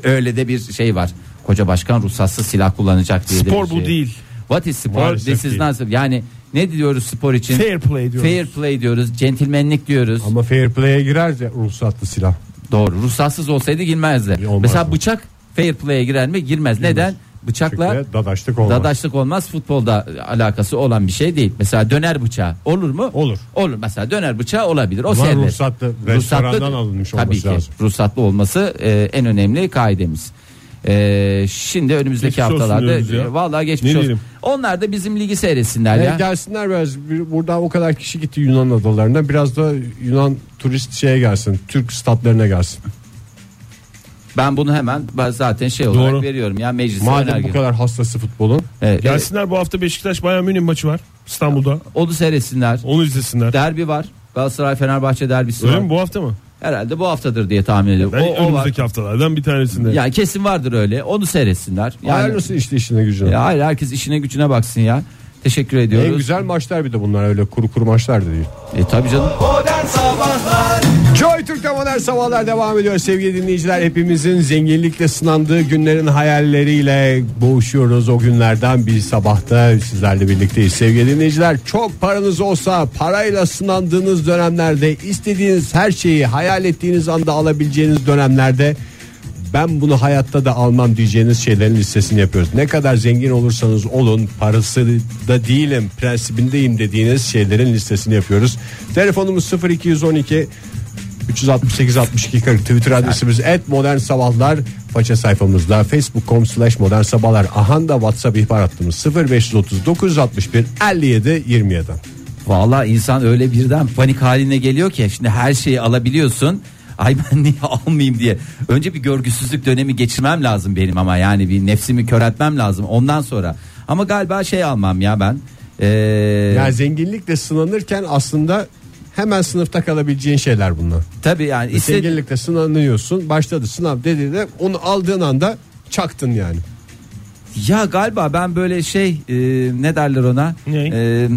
Speaker 4: Öyle de bir şey var. Koca başkan ruhsatsız silah kullanacak diye. de bir
Speaker 5: Spor bu
Speaker 4: şey.
Speaker 5: değil.
Speaker 4: What is spor?
Speaker 5: Maalesef
Speaker 4: This is
Speaker 5: değil. Şey,
Speaker 4: not- Yani ne diyoruz spor için?
Speaker 5: Fair play diyoruz.
Speaker 4: Fair play diyoruz, centilmenlik diyoruz.
Speaker 3: Ama fair play'e girer de ruhsatlı silah.
Speaker 4: Doğru. Ruhsatsız olsaydı girmezdi.
Speaker 3: Olmaz
Speaker 4: Mesela
Speaker 3: mı?
Speaker 4: bıçak fair play'e girer mi? Girmez. Neden? Bıçakla
Speaker 3: Çünkü dadaşlık olmaz.
Speaker 4: dadaşlık olmaz. Futbolda alakası olan bir şey değil. Mesela döner bıçağı olur mu?
Speaker 3: Olur.
Speaker 4: Olur. Mesela döner bıçağı olabilir. O
Speaker 3: Ama
Speaker 4: serbest.
Speaker 3: ruhsatlı, restorandan alınmış
Speaker 4: Tabii
Speaker 3: olması
Speaker 4: ki.
Speaker 3: lazım.
Speaker 4: Ruhsatlı olması e, en önemli kaidemiz. E, şimdi önümüzdeki
Speaker 5: Geçmiş olsun
Speaker 4: haftalarda
Speaker 5: diyoruz ya.
Speaker 4: e, vallahi geçmiş
Speaker 5: Ne
Speaker 4: olsun.
Speaker 5: diyelim?
Speaker 4: Onlar da bizim ligi seyretsinler
Speaker 3: Yani
Speaker 4: ya.
Speaker 3: E, gelsinler biraz bir- buradan o kadar kişi gitti Yunan adalarına biraz da Yunan turist şeye gelsin Türk statlarına gelsin.
Speaker 4: Ben bunu hemen ben zaten şey olarak
Speaker 5: Doğru.
Speaker 4: veriyorum ya meclise
Speaker 3: Madem
Speaker 4: önerge.
Speaker 3: bu kadar hastası futbolun
Speaker 4: Evet, evet.
Speaker 5: Gelsinler bu hafta Beşiktaş Bayern Münih maçı var İstanbul'da.
Speaker 4: Onu seyretsinler.
Speaker 5: Onu izlesinler.
Speaker 4: Derbi var. Galatasaray Fenerbahçe derbisi
Speaker 5: Öyle
Speaker 4: var.
Speaker 5: mi bu hafta mı?
Speaker 4: Herhalde bu haftadır diye tahmin ediyorum.
Speaker 5: Ben
Speaker 4: o, o var.
Speaker 5: önümüzdeki haftalardan bir tanesinde.
Speaker 4: Yani kesin vardır öyle. Onu seyretsinler. Yani,
Speaker 3: ayarlasın işte işine gücüne.
Speaker 4: Ya hayır herkes işine gücüne baksın ya.
Speaker 6: Teşekkür
Speaker 3: En
Speaker 6: ediyoruz.
Speaker 3: güzel maçlar bir de bunlar öyle kuru kuru maçlar da değil.
Speaker 6: E, tabii canım.
Speaker 2: Modern Sabahlar
Speaker 3: Joy Türk'te modern sabahlar devam ediyor sevgili dinleyiciler. Hepimizin zenginlikle sınandığı günlerin hayalleriyle boğuşuyoruz. O günlerden bir sabahta sizlerle birlikteyiz sevgili dinleyiciler. Çok paranız olsa parayla sınandığınız dönemlerde istediğiniz her şeyi hayal ettiğiniz anda alabileceğiniz dönemlerde ben bunu hayatta da almam diyeceğiniz şeylerin listesini yapıyoruz. Ne kadar zengin olursanız olun parası da değilim prensibindeyim dediğiniz şeylerin listesini yapıyoruz. Telefonumuz 0212 368 62 40 Twitter adresimiz et modern sabahlar faça sayfamızda facebook.com slash modern sabahlar ahan da whatsapp ihbar hattımız 0539 61 57 27
Speaker 6: Valla insan öyle birden panik haline geliyor ki şimdi her şeyi alabiliyorsun. Ay ben niye almayayım diye. Önce bir görgüsüzlük dönemi geçirmem lazım benim ama yani bir nefsimi köreltmem lazım ondan sonra. Ama galiba şey almam ya ben. Ee,
Speaker 3: yani zenginlikle sınanırken aslında hemen sınıfta kalabileceğin şeyler bunlar
Speaker 6: tabii yani
Speaker 5: E
Speaker 6: istedi-
Speaker 3: zenginlikle sınanıyorsun başladı sınav dedi de onu aldığın anda çaktın yani
Speaker 6: Ya galiba ben böyle şey e, ne derler ona?
Speaker 5: Ne?
Speaker 6: E,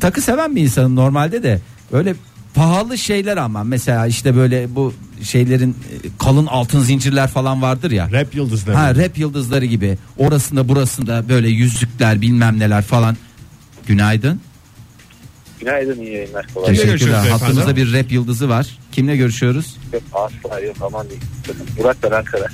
Speaker 6: takı seven bir insanım normalde de. Öyle pahalı şeyler ama mesela işte böyle bu şeylerin e, kalın altın zincirler falan vardır ya.
Speaker 3: rap yıldızları
Speaker 6: Ha rap yıldızları gibi. Orasında burasında böyle yüzükler bilmem neler falan. Günaydın.
Speaker 10: Günaydın iyi yayınlar kolay.
Speaker 3: Kimle
Speaker 6: Teşekkürler.
Speaker 3: görüşüyoruz
Speaker 6: Hattımızda
Speaker 3: beyefendi?
Speaker 6: bir rap yıldızı var. Kimle görüşüyoruz?
Speaker 10: Yok, Asla yok aman değil. Burak ben Ankara.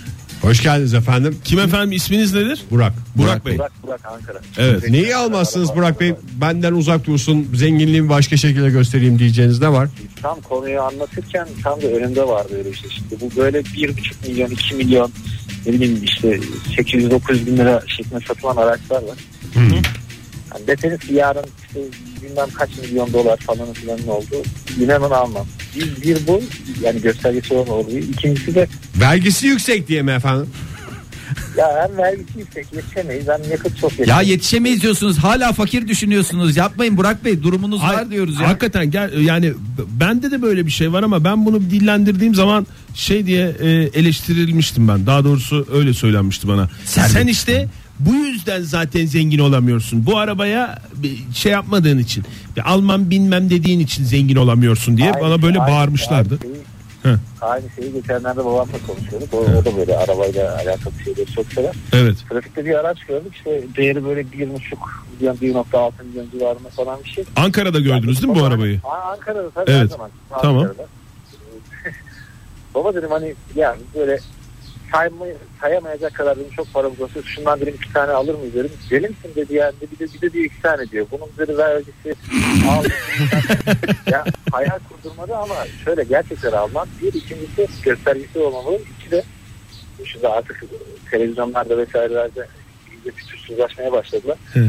Speaker 3: hoş geldiniz efendim
Speaker 5: Kim efendim isminiz nedir?
Speaker 3: Burak
Speaker 5: Burak Bey.
Speaker 10: Burak Burak Ankara.
Speaker 5: Evet.
Speaker 3: Neyi almazsınız Burak Bey? Benden uzak dursun, zenginliğimi başka şekilde göstereyim diyeceğiniz ne var?
Speaker 10: Tam konuyu anlatırken tam da önümde vardı öyle işte. Şimdi bu böyle 1,5 milyon 2 milyon ne bileyim işte 800-900 bin lira şeklinde satılan araçlar var. Yani deseniz ki yarın işte bilmem kaç milyon dolar falan filanın oldu. İnanın almam. Bir, bir bu yani göstergesi olan oluyor. İkincisi de
Speaker 3: Vergisi yüksek diye mi efendim?
Speaker 10: ya hem vergisi yüksek yetişemeyiz hem yakıt çok
Speaker 6: Ya
Speaker 10: yetişemeyiz.
Speaker 6: yetişemeyiz diyorsunuz. Hala fakir düşünüyorsunuz. Yapmayın Burak Bey durumunuz var diyoruz ya.
Speaker 5: Hakikaten gel yani b- bende de böyle bir şey var ama ben bunu dillendirdiğim zaman şey diye e, eleştirilmiştim ben. Daha doğrusu öyle söylenmişti bana.
Speaker 6: Sen-
Speaker 5: Sen işte bu yüzden zaten zengin olamıyorsun. Bu arabaya bir şey yapmadığın için, bir Alman bilmem dediğin için zengin olamıyorsun diye bana böyle bağırmışlardı.
Speaker 10: şey, Aynı şeyi,
Speaker 5: Hı.
Speaker 10: aynı şeyi geçenlerde babamla konuşuyorduk. O, o da böyle arabayla alakalı şeyleri çok sever.
Speaker 5: Evet.
Speaker 10: Trafikte bir araç gördük işte değeri böyle bir buçuk milyon, 1.6 milyon civarında falan bir şey.
Speaker 5: Ankara'da gördünüz değil mi bu
Speaker 10: Baba-
Speaker 5: arabayı?
Speaker 10: Aa, Ankara'da tabii
Speaker 5: Evet.
Speaker 10: her zaman.
Speaker 5: Tamam.
Speaker 10: Ankara'da. Baba dedim hani yani böyle saymay- sayamayacak kadar dedim çok paramız olsa şundan dedim iki tane alır mıyız dedim. Deli misin dedi yani bir de bir de diyor iki tane diyor. Bunun dedi vergisi al. ya hayal kurdurmadı ama şöyle gerçekten almak bir ikincisi göstergesi olmamalı. İki de şimdi artık televizyonlarda vesairelerde iyice fütursuzlaşmaya başladılar.
Speaker 5: Hı.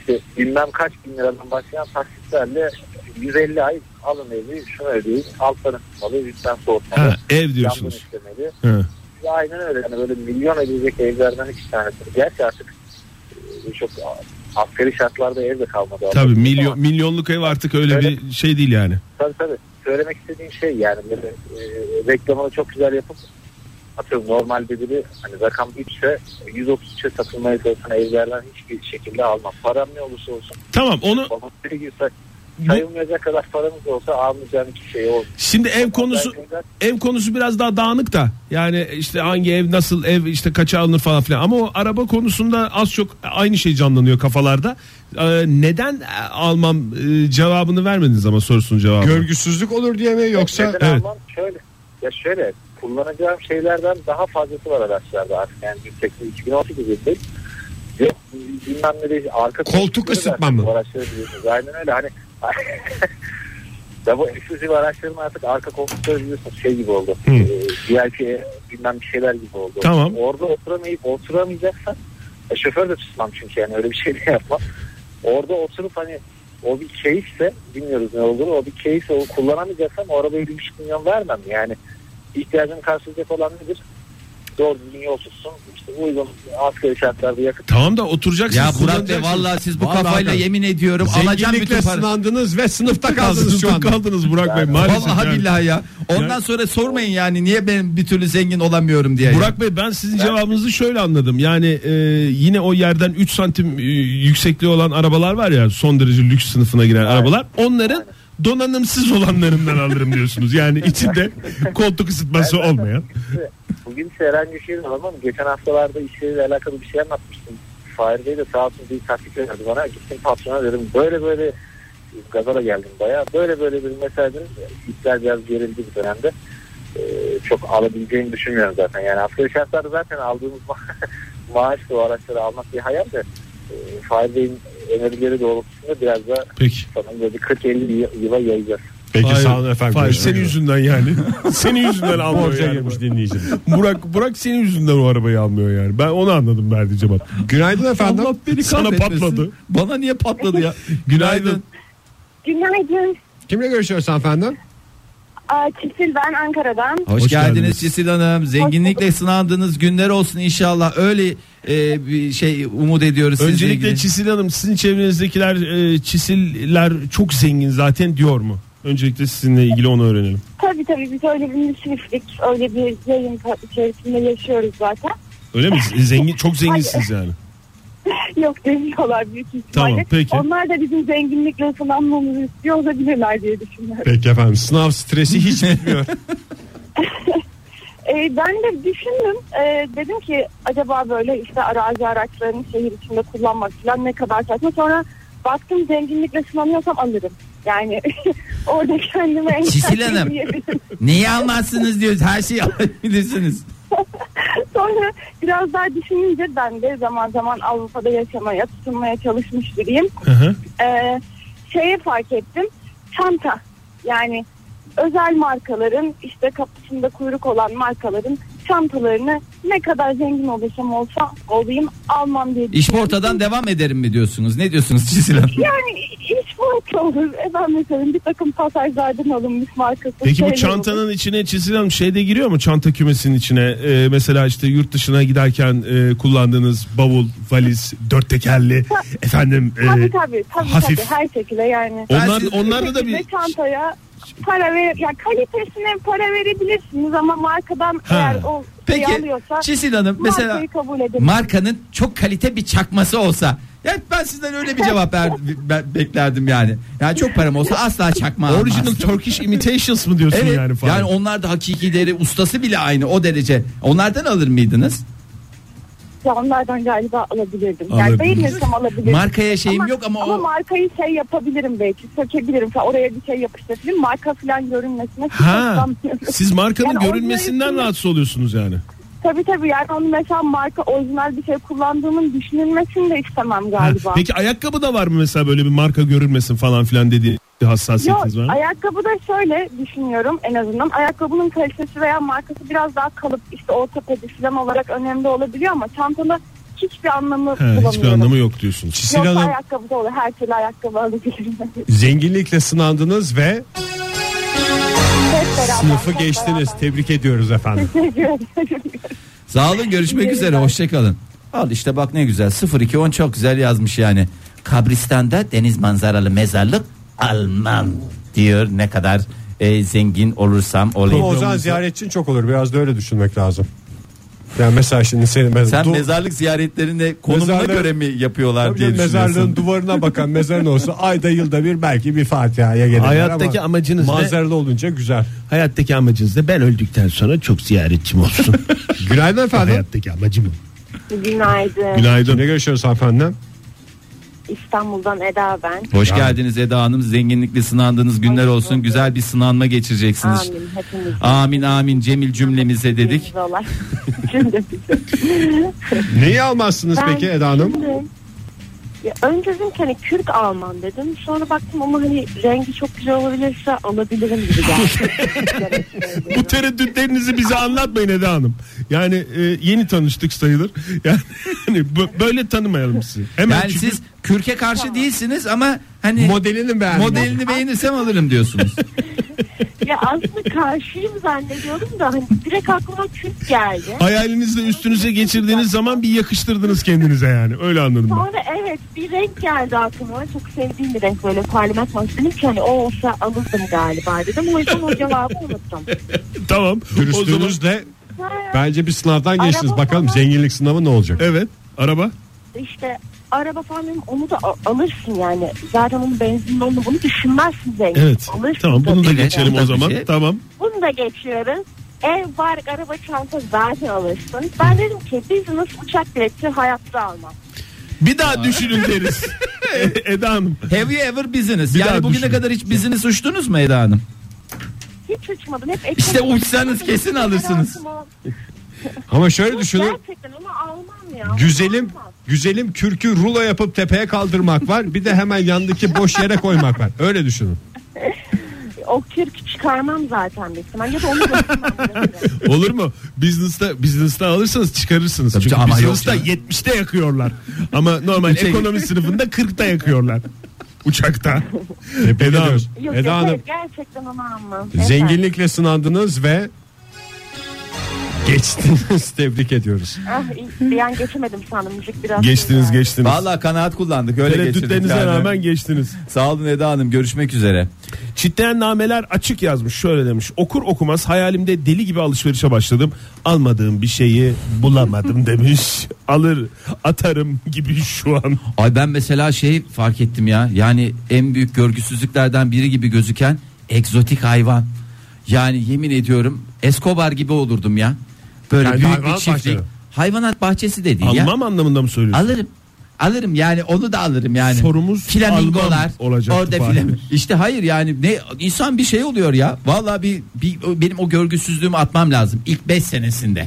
Speaker 10: İşte bilmem kaç bin liradan başlayan taksitlerle 150 ay alın evi, şunu ödeyin, alttan ısıtmalı, üstten soğutmalı.
Speaker 5: Ha, ev
Speaker 10: Camdan
Speaker 5: diyorsunuz.
Speaker 10: işlemeli.
Speaker 5: Hı.
Speaker 10: Ya aynen öyle. Yani böyle milyon edecek evlerden iki tanesi. Gerçi artık e, çok a- asgari şartlarda ev de kalmadı.
Speaker 5: Tabii
Speaker 10: Ama-
Speaker 5: milyon milyonluk ev artık öyle
Speaker 10: Öyle.
Speaker 5: bir şey değil yani.
Speaker 10: Tabii tabii. Söylemek istediğim şey yani böyle e, reklamını çok güzel yapıp atıyorum normalde biri hani rakam 3 ise 133'e satılmaya çalışan evlerden hiçbir şekilde almam. Param ne olursa olsun.
Speaker 5: Tamam onu
Speaker 10: Babam bir gün say- sayılmayacak kadar paramız olsa almayacağım hiçbir şey olmuyor.
Speaker 5: şimdi ev konusu ev konusu biraz daha dağınık da yani işte hangi ev nasıl ev işte kaça alınır falan filan ama o araba konusunda az çok aynı şey canlanıyor kafalarda. Ee, neden almam e, cevabını vermediniz ama sorusunun cevabını.
Speaker 3: Görgüsüzlük olur diye mi yoksa?
Speaker 10: Neden
Speaker 5: evet.
Speaker 10: almam? Şöyle. Ya şöyle kullanacağım şeylerden daha fazlası var araçlarda artık. Yani 180, 2018 yılındayız. Yok bilmem ne değil. Arka
Speaker 3: Koltuk
Speaker 10: koltukları
Speaker 3: ısıtma
Speaker 10: zaten
Speaker 3: mı?
Speaker 10: bu araçları biliyorsunuz. Aynen öyle hani. ya bu eksklusif araçların artık arka koltukları biliyorsunuz şey gibi oldu. Ee, VIP bilmem bir şeyler gibi oldu.
Speaker 5: Tamam.
Speaker 10: Orada oturamayıp oturamayacaksan e, şoför de tutmam çünkü yani öyle bir şey de yapmam. Orada oturup hani o bir keyifse bilmiyoruz ne olduğunu o bir keyifse o kullanamayacaksam o arabaya bir buçuk milyon vermem yani ihtiyacını karşılayacak olan nedir?
Speaker 11: doğru düzgün yol tutsun. İşte uygun asgari şartlarda yakıt.
Speaker 5: Tamam da oturacaksın.
Speaker 4: Ya Murat Bey
Speaker 5: kullanacaksın.
Speaker 4: vallahi siz bu
Speaker 5: Vallahi
Speaker 4: kafayla
Speaker 5: bak.
Speaker 4: yemin ediyorum alacağım bütün
Speaker 3: Zenginlikle
Speaker 4: parayı.
Speaker 3: sınandınız ve sınıfta kaldınız
Speaker 5: kaldınız
Speaker 3: şu
Speaker 5: çok
Speaker 3: anda.
Speaker 5: kaldınız Burak Bey maalesef.
Speaker 4: Vallahi
Speaker 5: yani.
Speaker 4: billahi ya. Ondan sonra sormayın yani niye ben bir türlü zengin olamıyorum diye. ya.
Speaker 5: Burak Bey ben sizin cevabınızı şöyle anladım. Yani e, yine o yerden 3 santim e, yüksekliği olan arabalar var ya son derece lüks sınıfına giren arabalar. Onların donanımsız olanlarından alırım diyorsunuz. Yani içinde koltuk ısıtması olmayan.
Speaker 11: Bugün ise herhangi bir şey de alamam. Geçen haftalarda işleriyle alakalı bir şey anlatmıştım. Fahir Bey de sağ olsun bir taktik verdi bana. Gittim patrona dedim böyle böyle gazara geldim bayağı. Böyle böyle bir mesaj dedim. İpler biraz gerildi bu dönemde. Ee, çok alabileceğini düşünmüyorum zaten. Yani asgari şartlarda zaten aldığımız ma- maaşla o araçları almak bir hayal de e, Fahir Bey'in önerileri doğrultusunda biraz da
Speaker 5: Peki.
Speaker 11: sanırım böyle bir 40-50 yı- yıla yayacağız.
Speaker 3: Peki
Speaker 5: Hayır,
Speaker 3: sağ olun efendim.
Speaker 5: Hayır,
Speaker 3: Görüşmek
Speaker 5: senin
Speaker 3: üzere.
Speaker 5: yüzünden yani. senin yüzünden almıyor
Speaker 3: Borca
Speaker 5: yani.
Speaker 3: girmiş dinleyicimiz.
Speaker 5: Burak, Burak senin yüzünden o arabayı almıyor yani. Ben onu anladım verdiği cevap.
Speaker 3: Günaydın efendim.
Speaker 4: Allah beni
Speaker 5: Sana
Speaker 4: kahretmesin.
Speaker 5: patladı.
Speaker 4: Bana niye patladı ya?
Speaker 5: Günaydın.
Speaker 12: Günaydın.
Speaker 3: Kimle görüşüyoruz efendim?
Speaker 12: Aa, Çisil ben Ankara'dan.
Speaker 4: Hoş,
Speaker 5: Hoş
Speaker 4: geldiniz,
Speaker 5: geldiniz.
Speaker 4: Cisil Hanım. Zenginlikle sınandığınız günler olsun inşallah. Öyle e, bir şey umut ediyoruz sizle
Speaker 5: Öncelikle
Speaker 4: ilgili.
Speaker 5: Çisil Hanım sizin çevrenizdekiler e, Çisiller çok zengin zaten diyor mu? Öncelikle sizinle ilgili onu öğrenelim.
Speaker 12: Tabii tabii biz öyle bir müsriflik, öyle bir yayın ka- içerisinde yaşıyoruz zaten.
Speaker 5: Öyle mi? Zengin çok zenginsiniz yani.
Speaker 12: Yok demiyorlar büyük ihtimalle.
Speaker 5: Tamam, peki.
Speaker 12: Onlar da bizim zenginlikle sınanmamızı istiyor olabilirler diye düşünüyorum.
Speaker 3: Peki efendim. Sınav stresi hiç bitmiyor.
Speaker 12: Ee, ben de düşündüm. Ee, dedim ki acaba böyle işte arazi araçlarını şehir içinde kullanmak falan ne kadar saçma. Sonra baktım zenginlikle sınanıyorsam alırım. Yani orada kendime en
Speaker 4: Çisil
Speaker 12: tatmin
Speaker 4: Hanım.
Speaker 12: diyebilirim.
Speaker 4: Neyi almazsınız diyoruz. Her şeyi alabilirsiniz.
Speaker 12: Sonra biraz daha düşününce ben de zaman zaman Avrupa'da yaşamaya, tutunmaya çalışmış biriyim. Ee, şeye fark ettim. Çanta. Yani özel markaların işte kapısında kuyruk olan markaların çantalarını ne kadar zengin olursam olsa olayım almam diye
Speaker 4: İşportadan devam ederim mi diyorsunuz? Ne diyorsunuz Çisil Hanım?
Speaker 12: Yani iş marka olur. E ben mesela bir takım pasajlardan alınmış markası.
Speaker 5: Peki bu
Speaker 12: şeyler olur.
Speaker 5: çantanın içine Çisil Hanım şey de giriyor mu? Çanta kümesinin içine e, mesela işte yurt dışına giderken e, kullandığınız bavul, valiz, dört tekerli efendim e,
Speaker 12: Tabii tabii tabii,
Speaker 5: hafif.
Speaker 12: tabii her şekilde yani.
Speaker 5: Onlar,
Speaker 4: Ben-
Speaker 5: onlarda da bir
Speaker 12: Ve çantaya para ver ya kalitesine para verebilirsiniz ama markadan
Speaker 5: Ha.
Speaker 12: eğer o şeyi
Speaker 4: Peki
Speaker 12: Şey alıyorsa
Speaker 4: Çisil Hanım mesela
Speaker 12: markayı kabul edelim.
Speaker 4: markanın çok kalite bir çakması olsa ya ben sizden öyle bir cevap ver, be- beklerdim yani. Yani çok param olsa asla çakma almazdım.
Speaker 5: Original Turkish Imitations mı diyorsun
Speaker 4: Evet.
Speaker 5: yani
Speaker 4: Yani,
Speaker 5: falan?
Speaker 4: onlar da hakiki deri ustası bile aynı o derece. Onlardan alır mıydınız?
Speaker 12: Ya onlardan galiba alabilirdim. Yani
Speaker 5: Alabilirdim.
Speaker 12: beğenirsem alabilirdim.
Speaker 4: Markaya şeyim yok ama,
Speaker 12: ama
Speaker 4: o
Speaker 12: markayı şey yapabilirim belki sökebilirim falan. oraya bir şey yapıştırabilirim marka falan görünmesine
Speaker 5: Ha,
Speaker 12: kısıtlanmıyorum.
Speaker 5: siz markanın
Speaker 12: Yani
Speaker 5: görünmesinden
Speaker 12: onların-
Speaker 5: rahatsız oluyorsunuz yani.
Speaker 12: Tabii tabii yani onu mesela marka orijinal bir şey kullandığımın düşünülmesini de istemem
Speaker 5: Ha,
Speaker 12: galiba.
Speaker 5: Peki ayakkabı da var mı mesela böyle bir marka görünmesin falan filan dediği bir hassasiyetiniz var
Speaker 12: Yok
Speaker 5: mı?
Speaker 12: ayakkabı da şöyle düşünüyorum en azından. Ayakkabının kalitesi veya markası biraz daha kalıp işte ortopedi falan olarak önemli olabiliyor ama çantada hiçbir anlamı
Speaker 5: He,
Speaker 12: bulamıyorum.
Speaker 5: hiçbir anlamı yok diyorsunuz.
Speaker 3: Çisil
Speaker 12: Yoksa
Speaker 3: Hanım
Speaker 12: ayakkabı da olur. Her türlü ayakkabı alabilirim.
Speaker 3: zenginlikle sınandınız ve
Speaker 12: Hep beraber,
Speaker 3: sınıfı
Speaker 12: hep
Speaker 3: geçtiniz.
Speaker 12: beraber.
Speaker 3: Tebrik ediyoruz efendim.
Speaker 12: Teşekkür ederim.
Speaker 4: sağ olun görüşmek üzere hoşçakalın. Al işte bak ne güzel 0210 çok güzel yazmış yani. Kabristan'da deniz manzaralı mezarlık Alman diyor ne kadar e, zengin olursam
Speaker 3: Ama
Speaker 4: olayım.
Speaker 3: Ozan ziyaretçin çok olur. Biraz da öyle düşünmek lazım. Yani mesela şimdi senin mez-
Speaker 4: Sen
Speaker 3: du-
Speaker 4: mezarlık ziyaretlerinde konumuna
Speaker 3: Mezarlığı-
Speaker 4: göre mi yapıyorlar
Speaker 3: Tabii
Speaker 4: diye
Speaker 3: canım, mezarlığın
Speaker 4: düşünüyorsun.
Speaker 3: duvarına bakan mezarın olsa ayda yılda bir belki bir Fatiha'ya gelirler
Speaker 5: Hayattaki
Speaker 3: ama
Speaker 5: amacınız ne?
Speaker 3: manzaralı olunca güzel.
Speaker 5: Hayattaki amacınız da ben öldükten sonra çok ziyaretçim olsun.
Speaker 3: Günaydın efendim.
Speaker 5: Hayattaki amacım
Speaker 12: Günaydın.
Speaker 3: Günaydın. Ne görüşüyoruz efendim?
Speaker 12: İstanbul'dan Eda ben.
Speaker 4: Hoş geldiniz Eda Hanım. Zenginlikle sınandığınız günler
Speaker 12: Hoş
Speaker 4: olsun.
Speaker 12: bulduk.
Speaker 4: Güzel bir sınanma geçireceksiniz.
Speaker 12: Amin. Hepimiz.
Speaker 4: Amin amin Cemil cümlemize dedik.
Speaker 12: Olay. Şimdi
Speaker 3: Neyi almazsınız
Speaker 12: Ben
Speaker 3: peki Eda Hanım?
Speaker 12: Şimdi, ya önce dedim ki hani kürk almam dedim. Sonra baktım ama hani rengi çok güzel olabilirse alabilirim gibi geldi.
Speaker 5: Bu tereddütlerinizi bize anlatmayın Eda Hanım. Yani e, yeni tanıştık sayılır. Yani hani bu- böyle tanımayalım sizi. Hemen
Speaker 4: Yani
Speaker 5: çünkü-
Speaker 4: siz kürke karşı değilsiniz ama hani
Speaker 3: Modelini beğendim.
Speaker 4: modelini beğenirsem alırım diyorsunuz.
Speaker 12: Ya aslında karşıyım zannediyordum da hani direkt aklıma Kürt geldi.
Speaker 5: Hayalinizle üstünüze geçirdiğiniz zaman bir yakıştırdınız kendinize yani. Öyle anladım ben.
Speaker 12: Sonra evet bir renk geldi aklıma. Çok sevdiğim bir renk böyle parlament mavi. Dedim ki hani o olsa alırdım galiba dedim. O yüzden o cevabı unuttum.
Speaker 5: Tamam. O zaman
Speaker 3: Dürüstlüğünüzle bence bir sınavdan geçtiniz.
Speaker 12: Araba
Speaker 3: Bakalım
Speaker 12: falan-
Speaker 3: zenginlik sınavı ne olacak?
Speaker 5: evet araba.
Speaker 12: İşte araba falan dedim, onu da a- alırsın yani. Zaten onun benzinini onu bunu düşünmezsin zengin. Alırsın
Speaker 5: Tamam bunu da
Speaker 12: tabii ki.
Speaker 5: geçelim o
Speaker 4: Tabii
Speaker 5: zaman.
Speaker 4: ki.
Speaker 5: Tamam.
Speaker 12: Bunu da geçiyoruz. Ev, bark, araba, çanta zaten alırsın. Ben dedim ki business uçak bileti hayatta almam.
Speaker 5: Bir daha düşünün deriz. E- Eda Hanım.
Speaker 4: Have you ever business?
Speaker 5: Bir daha
Speaker 4: yani bugüne
Speaker 5: düşünün.
Speaker 4: kadar hiç business uçtunuz mu Eda Hanım?
Speaker 12: Hiç uçmadım. Hep
Speaker 4: İşte uçsanız kesin alırsınız.
Speaker 3: Ama şöyle düşünün.
Speaker 12: Gerçekten onu almam ya.
Speaker 3: Güzelim
Speaker 12: Almam.
Speaker 3: güzelim kürkü rulo yapıp tepeye kaldırmak var. Bir de hemen yandaki boş yere koymak var. Öyle düşünün.
Speaker 12: O kürkü çıkarmam zaten bir ihtimal. Ya da onu götürmem.
Speaker 5: Olur mu? Business'ta business'ta alırsanız çıkarırsınız.
Speaker 4: Tabii
Speaker 5: Çünkü
Speaker 4: canım, ama
Speaker 5: business'ta
Speaker 4: yok
Speaker 5: 70'te yakıyorlar. ama normal
Speaker 4: Şey-
Speaker 5: ekonomi sınıfında 40'ta yakıyorlar. Uçakta. Eda Hanım.
Speaker 12: Yok,
Speaker 3: Eda
Speaker 12: yok,
Speaker 3: Hanım
Speaker 12: hayır, gerçekten onu almam. Efendim?
Speaker 3: zenginlikle sınandınız ve geçtiniz. Tebrik ediyoruz.
Speaker 12: Ah, iyi. bir an geçemedim sandım. Müzik biraz.
Speaker 5: Geçtiniz geçtiniz.
Speaker 4: Vallahi kanaat kullandık öyle geçirdik.
Speaker 5: Tereddütlerinize
Speaker 4: yani.
Speaker 5: rağmen geçtiniz.
Speaker 4: Sağ olun Eda Hanım görüşmek üzere.
Speaker 5: Çitleyen nameler açık yazmış. Şöyle demiş. Okur okumaz hayalimde deli gibi alışverişe başladım. Almadığım bir şeyi bulamadım demiş. Alır atarım gibi şu an.
Speaker 4: Ay ben mesela şey fark ettim ya. Yani en büyük görgüsüzlüklerden biri gibi gözüken egzotik hayvan. Yani yemin ediyorum Escobar gibi olurdum ya. Böyle
Speaker 5: Yani
Speaker 4: büyük bir
Speaker 5: hayvanat
Speaker 4: çiftlik.
Speaker 5: bahçeleri.
Speaker 4: Hayvanat bahçesi de değil ya.
Speaker 5: Almam anlamında mı söylüyorsun?
Speaker 4: Alırım. Alırım yani onu da alırım yani.
Speaker 5: Sorumuz
Speaker 4: flamingolar
Speaker 5: almam olacaktı
Speaker 4: orada
Speaker 5: Fahir.
Speaker 4: filan. İşte hayır yani ne insan bir şey oluyor ya. Vallahi bir, bir- o- benim o görgüsüzlüğümü atmam lazım ilk 5 senesinde.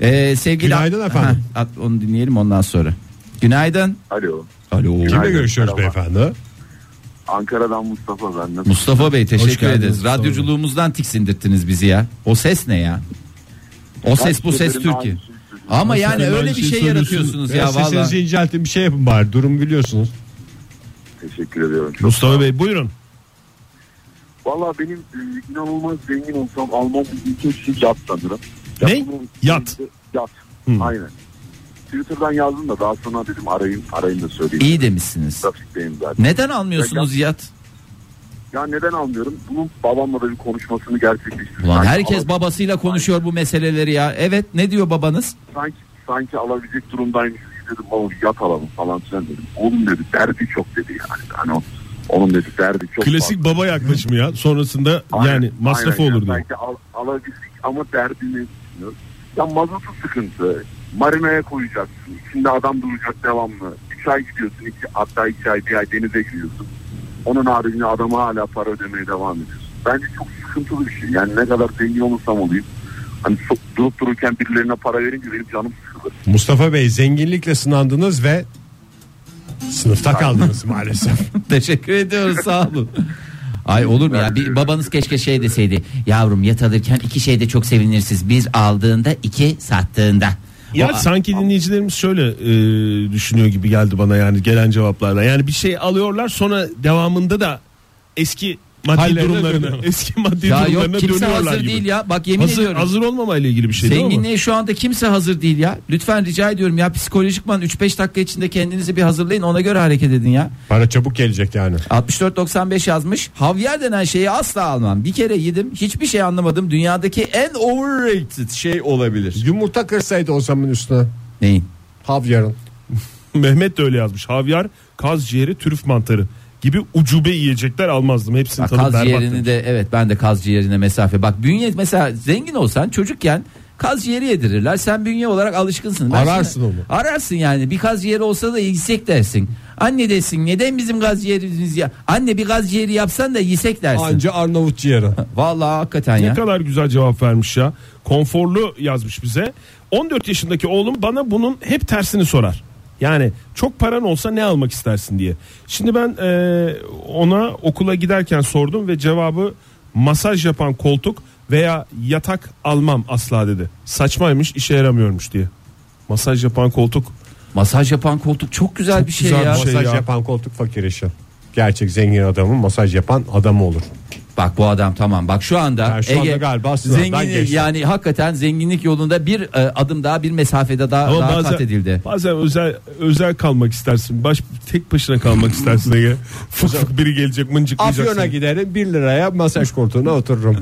Speaker 4: Ee, sevgili
Speaker 3: Günaydın efendim.
Speaker 4: Ha, at, onu dinleyelim ondan sonra. Günaydın.
Speaker 13: Alo.
Speaker 4: Alo.
Speaker 3: Kimle
Speaker 13: Günaydın,
Speaker 3: görüşüyoruz
Speaker 13: merhaba.
Speaker 3: beyefendi?
Speaker 13: Ankara'dan Mustafa ben. Nasıl?
Speaker 4: Mustafa Bey
Speaker 5: Hoş
Speaker 4: teşekkür
Speaker 5: geldiniz.
Speaker 4: ederiz.
Speaker 5: Sağ olun.
Speaker 4: Radyoculuğumuzdan tiksindirttiniz bizi ya. O ses ne ya? O ses bu ses
Speaker 13: seferinde
Speaker 4: Türkiye.
Speaker 13: aynı şeyi söylüyorum.
Speaker 4: Ama yani
Speaker 5: seferinde
Speaker 4: öyle
Speaker 5: aynı
Speaker 4: bir
Speaker 5: şeyi
Speaker 4: şey
Speaker 5: söylüyorsun.
Speaker 4: yaratıyorsunuz
Speaker 3: Ya
Speaker 4: ya valla.
Speaker 3: sesinizi inceltin bir şey yapın bari. Durum biliyorsunuz.
Speaker 13: Teşekkür ediyorum. Çok
Speaker 5: Mustafa Bey buyurun.
Speaker 13: Valla benim e, inanılmaz zengin olsam almam bütün şey yat sanırım.
Speaker 5: Ne?
Speaker 13: Yatırım-
Speaker 5: Yat.
Speaker 13: Yat. Aynen. Twitter'dan yazdım da daha sonra dedim arayın arayın da söyleyeyim.
Speaker 4: İyi demişsiniz.
Speaker 13: Trafikteyim zaten.
Speaker 4: Neden almıyorsunuz yat?
Speaker 13: Ya neden almıyorum? Bunun babamla da bir konuşmasını gerçekleştirdim.
Speaker 4: Ulan
Speaker 13: Sanki
Speaker 4: herkes
Speaker 13: ala-
Speaker 4: babasıyla konuşuyor bu meseleleri ya. Evet ne diyor babanız?
Speaker 13: Sanki, sanki alabilecek durumdaymış. Dedim oğlum yat alalım falan filan dedim. Oğlum dedi derdi çok dedi yani. Hani o- onun dedi derdi çok
Speaker 5: Klasik baba yaklaşımı ya. Sonrasında
Speaker 13: Aynen,
Speaker 5: yani masrafı
Speaker 13: aynen.
Speaker 5: olur diyor.
Speaker 13: Belki al, alabildik ama derdini düşünüyoruz. Ya mazotu sıkıntı. Marinaya koyacaksın. İçinde adam duracak devamlı. 3 ay gidiyorsun. Iki, hatta 2 ay bir ay denize giriyorsun. Onun haricinde adama hala para ödemeye devam ediyorsun. Bence çok sıkıntılı bir şey. Yani ne kadar zengin olursam olayım. Hani çok durup dururken birilerine para verince benim canım sıkılır.
Speaker 3: Mustafa Bey zenginlikle sınandınız ve sınıfta kaldınız maalesef.
Speaker 4: Teşekkür ediyoruz sağ olun. Ay olur mu ya? Bir babanız keşke şey deseydi. Yavrum yat alırken iki şeyde çok sevinirsiz. Bir aldığında, iki sattığında.
Speaker 5: Ya
Speaker 4: O-
Speaker 5: sanki dinleyicilerimiz şöyle e, düşünüyor gibi geldi bana yani gelen cevaplarla. Yani bir şey alıyorlar sonra devamında da eski maddi
Speaker 3: Hallerine
Speaker 5: durumlarına,
Speaker 3: dönüyorlar.
Speaker 5: eski maddi
Speaker 4: ya
Speaker 5: durumlarına
Speaker 4: yok kimse
Speaker 5: dönüyorlar
Speaker 4: hazır
Speaker 5: gibi.
Speaker 4: değil ya. Bak yemin
Speaker 5: hazır,
Speaker 4: ediyorum.
Speaker 5: hazır olmamayla ilgili bir şey değil mi?
Speaker 4: Zenginliğe şu anda kimse hazır değil ya. Lütfen rica ediyorum ya psikolojikman 3-5 dakika içinde kendinizi bir hazırlayın ona göre hareket edin ya.
Speaker 3: Para çabuk gelecek yani.
Speaker 4: 64.95 yazmış. Havyar denen şeyi asla almam. Bir kere yedim hiçbir şey anlamadım. Dünyadaki en overrated şey olabilir.
Speaker 3: Yumurta kırsaydı o zaman üstüne.
Speaker 4: Neyin?
Speaker 3: Havyarın.
Speaker 5: Mehmet de öyle yazmış. Havyar, kaz ciğeri, trüf mantarı gibi ucube yiyecekler almazdım. Hepsinin
Speaker 4: Bak,
Speaker 5: tadı
Speaker 4: kaz
Speaker 5: berbat.
Speaker 4: ciğerini de evet ben de kaz ciğerine mesafe. Bak bünye mesela zengin olsan çocukken kaz ciğeri yedirirler. Sen bünye olarak alışkınsın. Ben
Speaker 3: Ararsın
Speaker 4: sana-
Speaker 3: onu.
Speaker 4: Ararsın yani bir kaz ciğeri olsa da yiyecek dersin. Anne desin neden bizim kaz ciğerimiz ya? Anne bir kaz ciğeri yapsan da yiyecek dersin.
Speaker 3: Anca Arnavut ciğeri.
Speaker 4: Vallahi hakikaten
Speaker 5: Ne
Speaker 4: ya.
Speaker 5: kadar güzel cevap vermiş ya. Konforlu yazmış bize. 14 yaşındaki oğlum bana bunun hep tersini sorar. Yani çok paran olsa ne almak istersin diye. Şimdi ben e, ona okula giderken sordum ve cevabı masaj yapan koltuk veya yatak almam asla dedi. Saçmaymış işe yaramıyormuş diye. Masaj yapan koltuk
Speaker 4: Masaj yapan koltuk çok güzel bir şey
Speaker 5: güzel
Speaker 4: ya.
Speaker 5: bir şey.
Speaker 3: masaj
Speaker 5: ya.
Speaker 3: yapan koltuk fakir işi. Gerçek zengin adamın masaj yapan adamı olur.
Speaker 4: Bak bu adam tamam bak şu anda
Speaker 3: Yani şu anda galiba sınırdan
Speaker 4: zenginlik
Speaker 3: geçti.
Speaker 4: yani hakikaten zenginlik yolunda bir e, adım daha bir mesafede daha,
Speaker 5: Ama
Speaker 4: daha kat
Speaker 5: bazen,
Speaker 4: edildi.
Speaker 5: bazen özel özel kalmak istersin. Baş tek başına kalmak istersin Ege. Fık fık biri gelecek mıncıklayacaksın.
Speaker 3: Afyon'a giderim 1 liraya masaj koltuğuna otururum.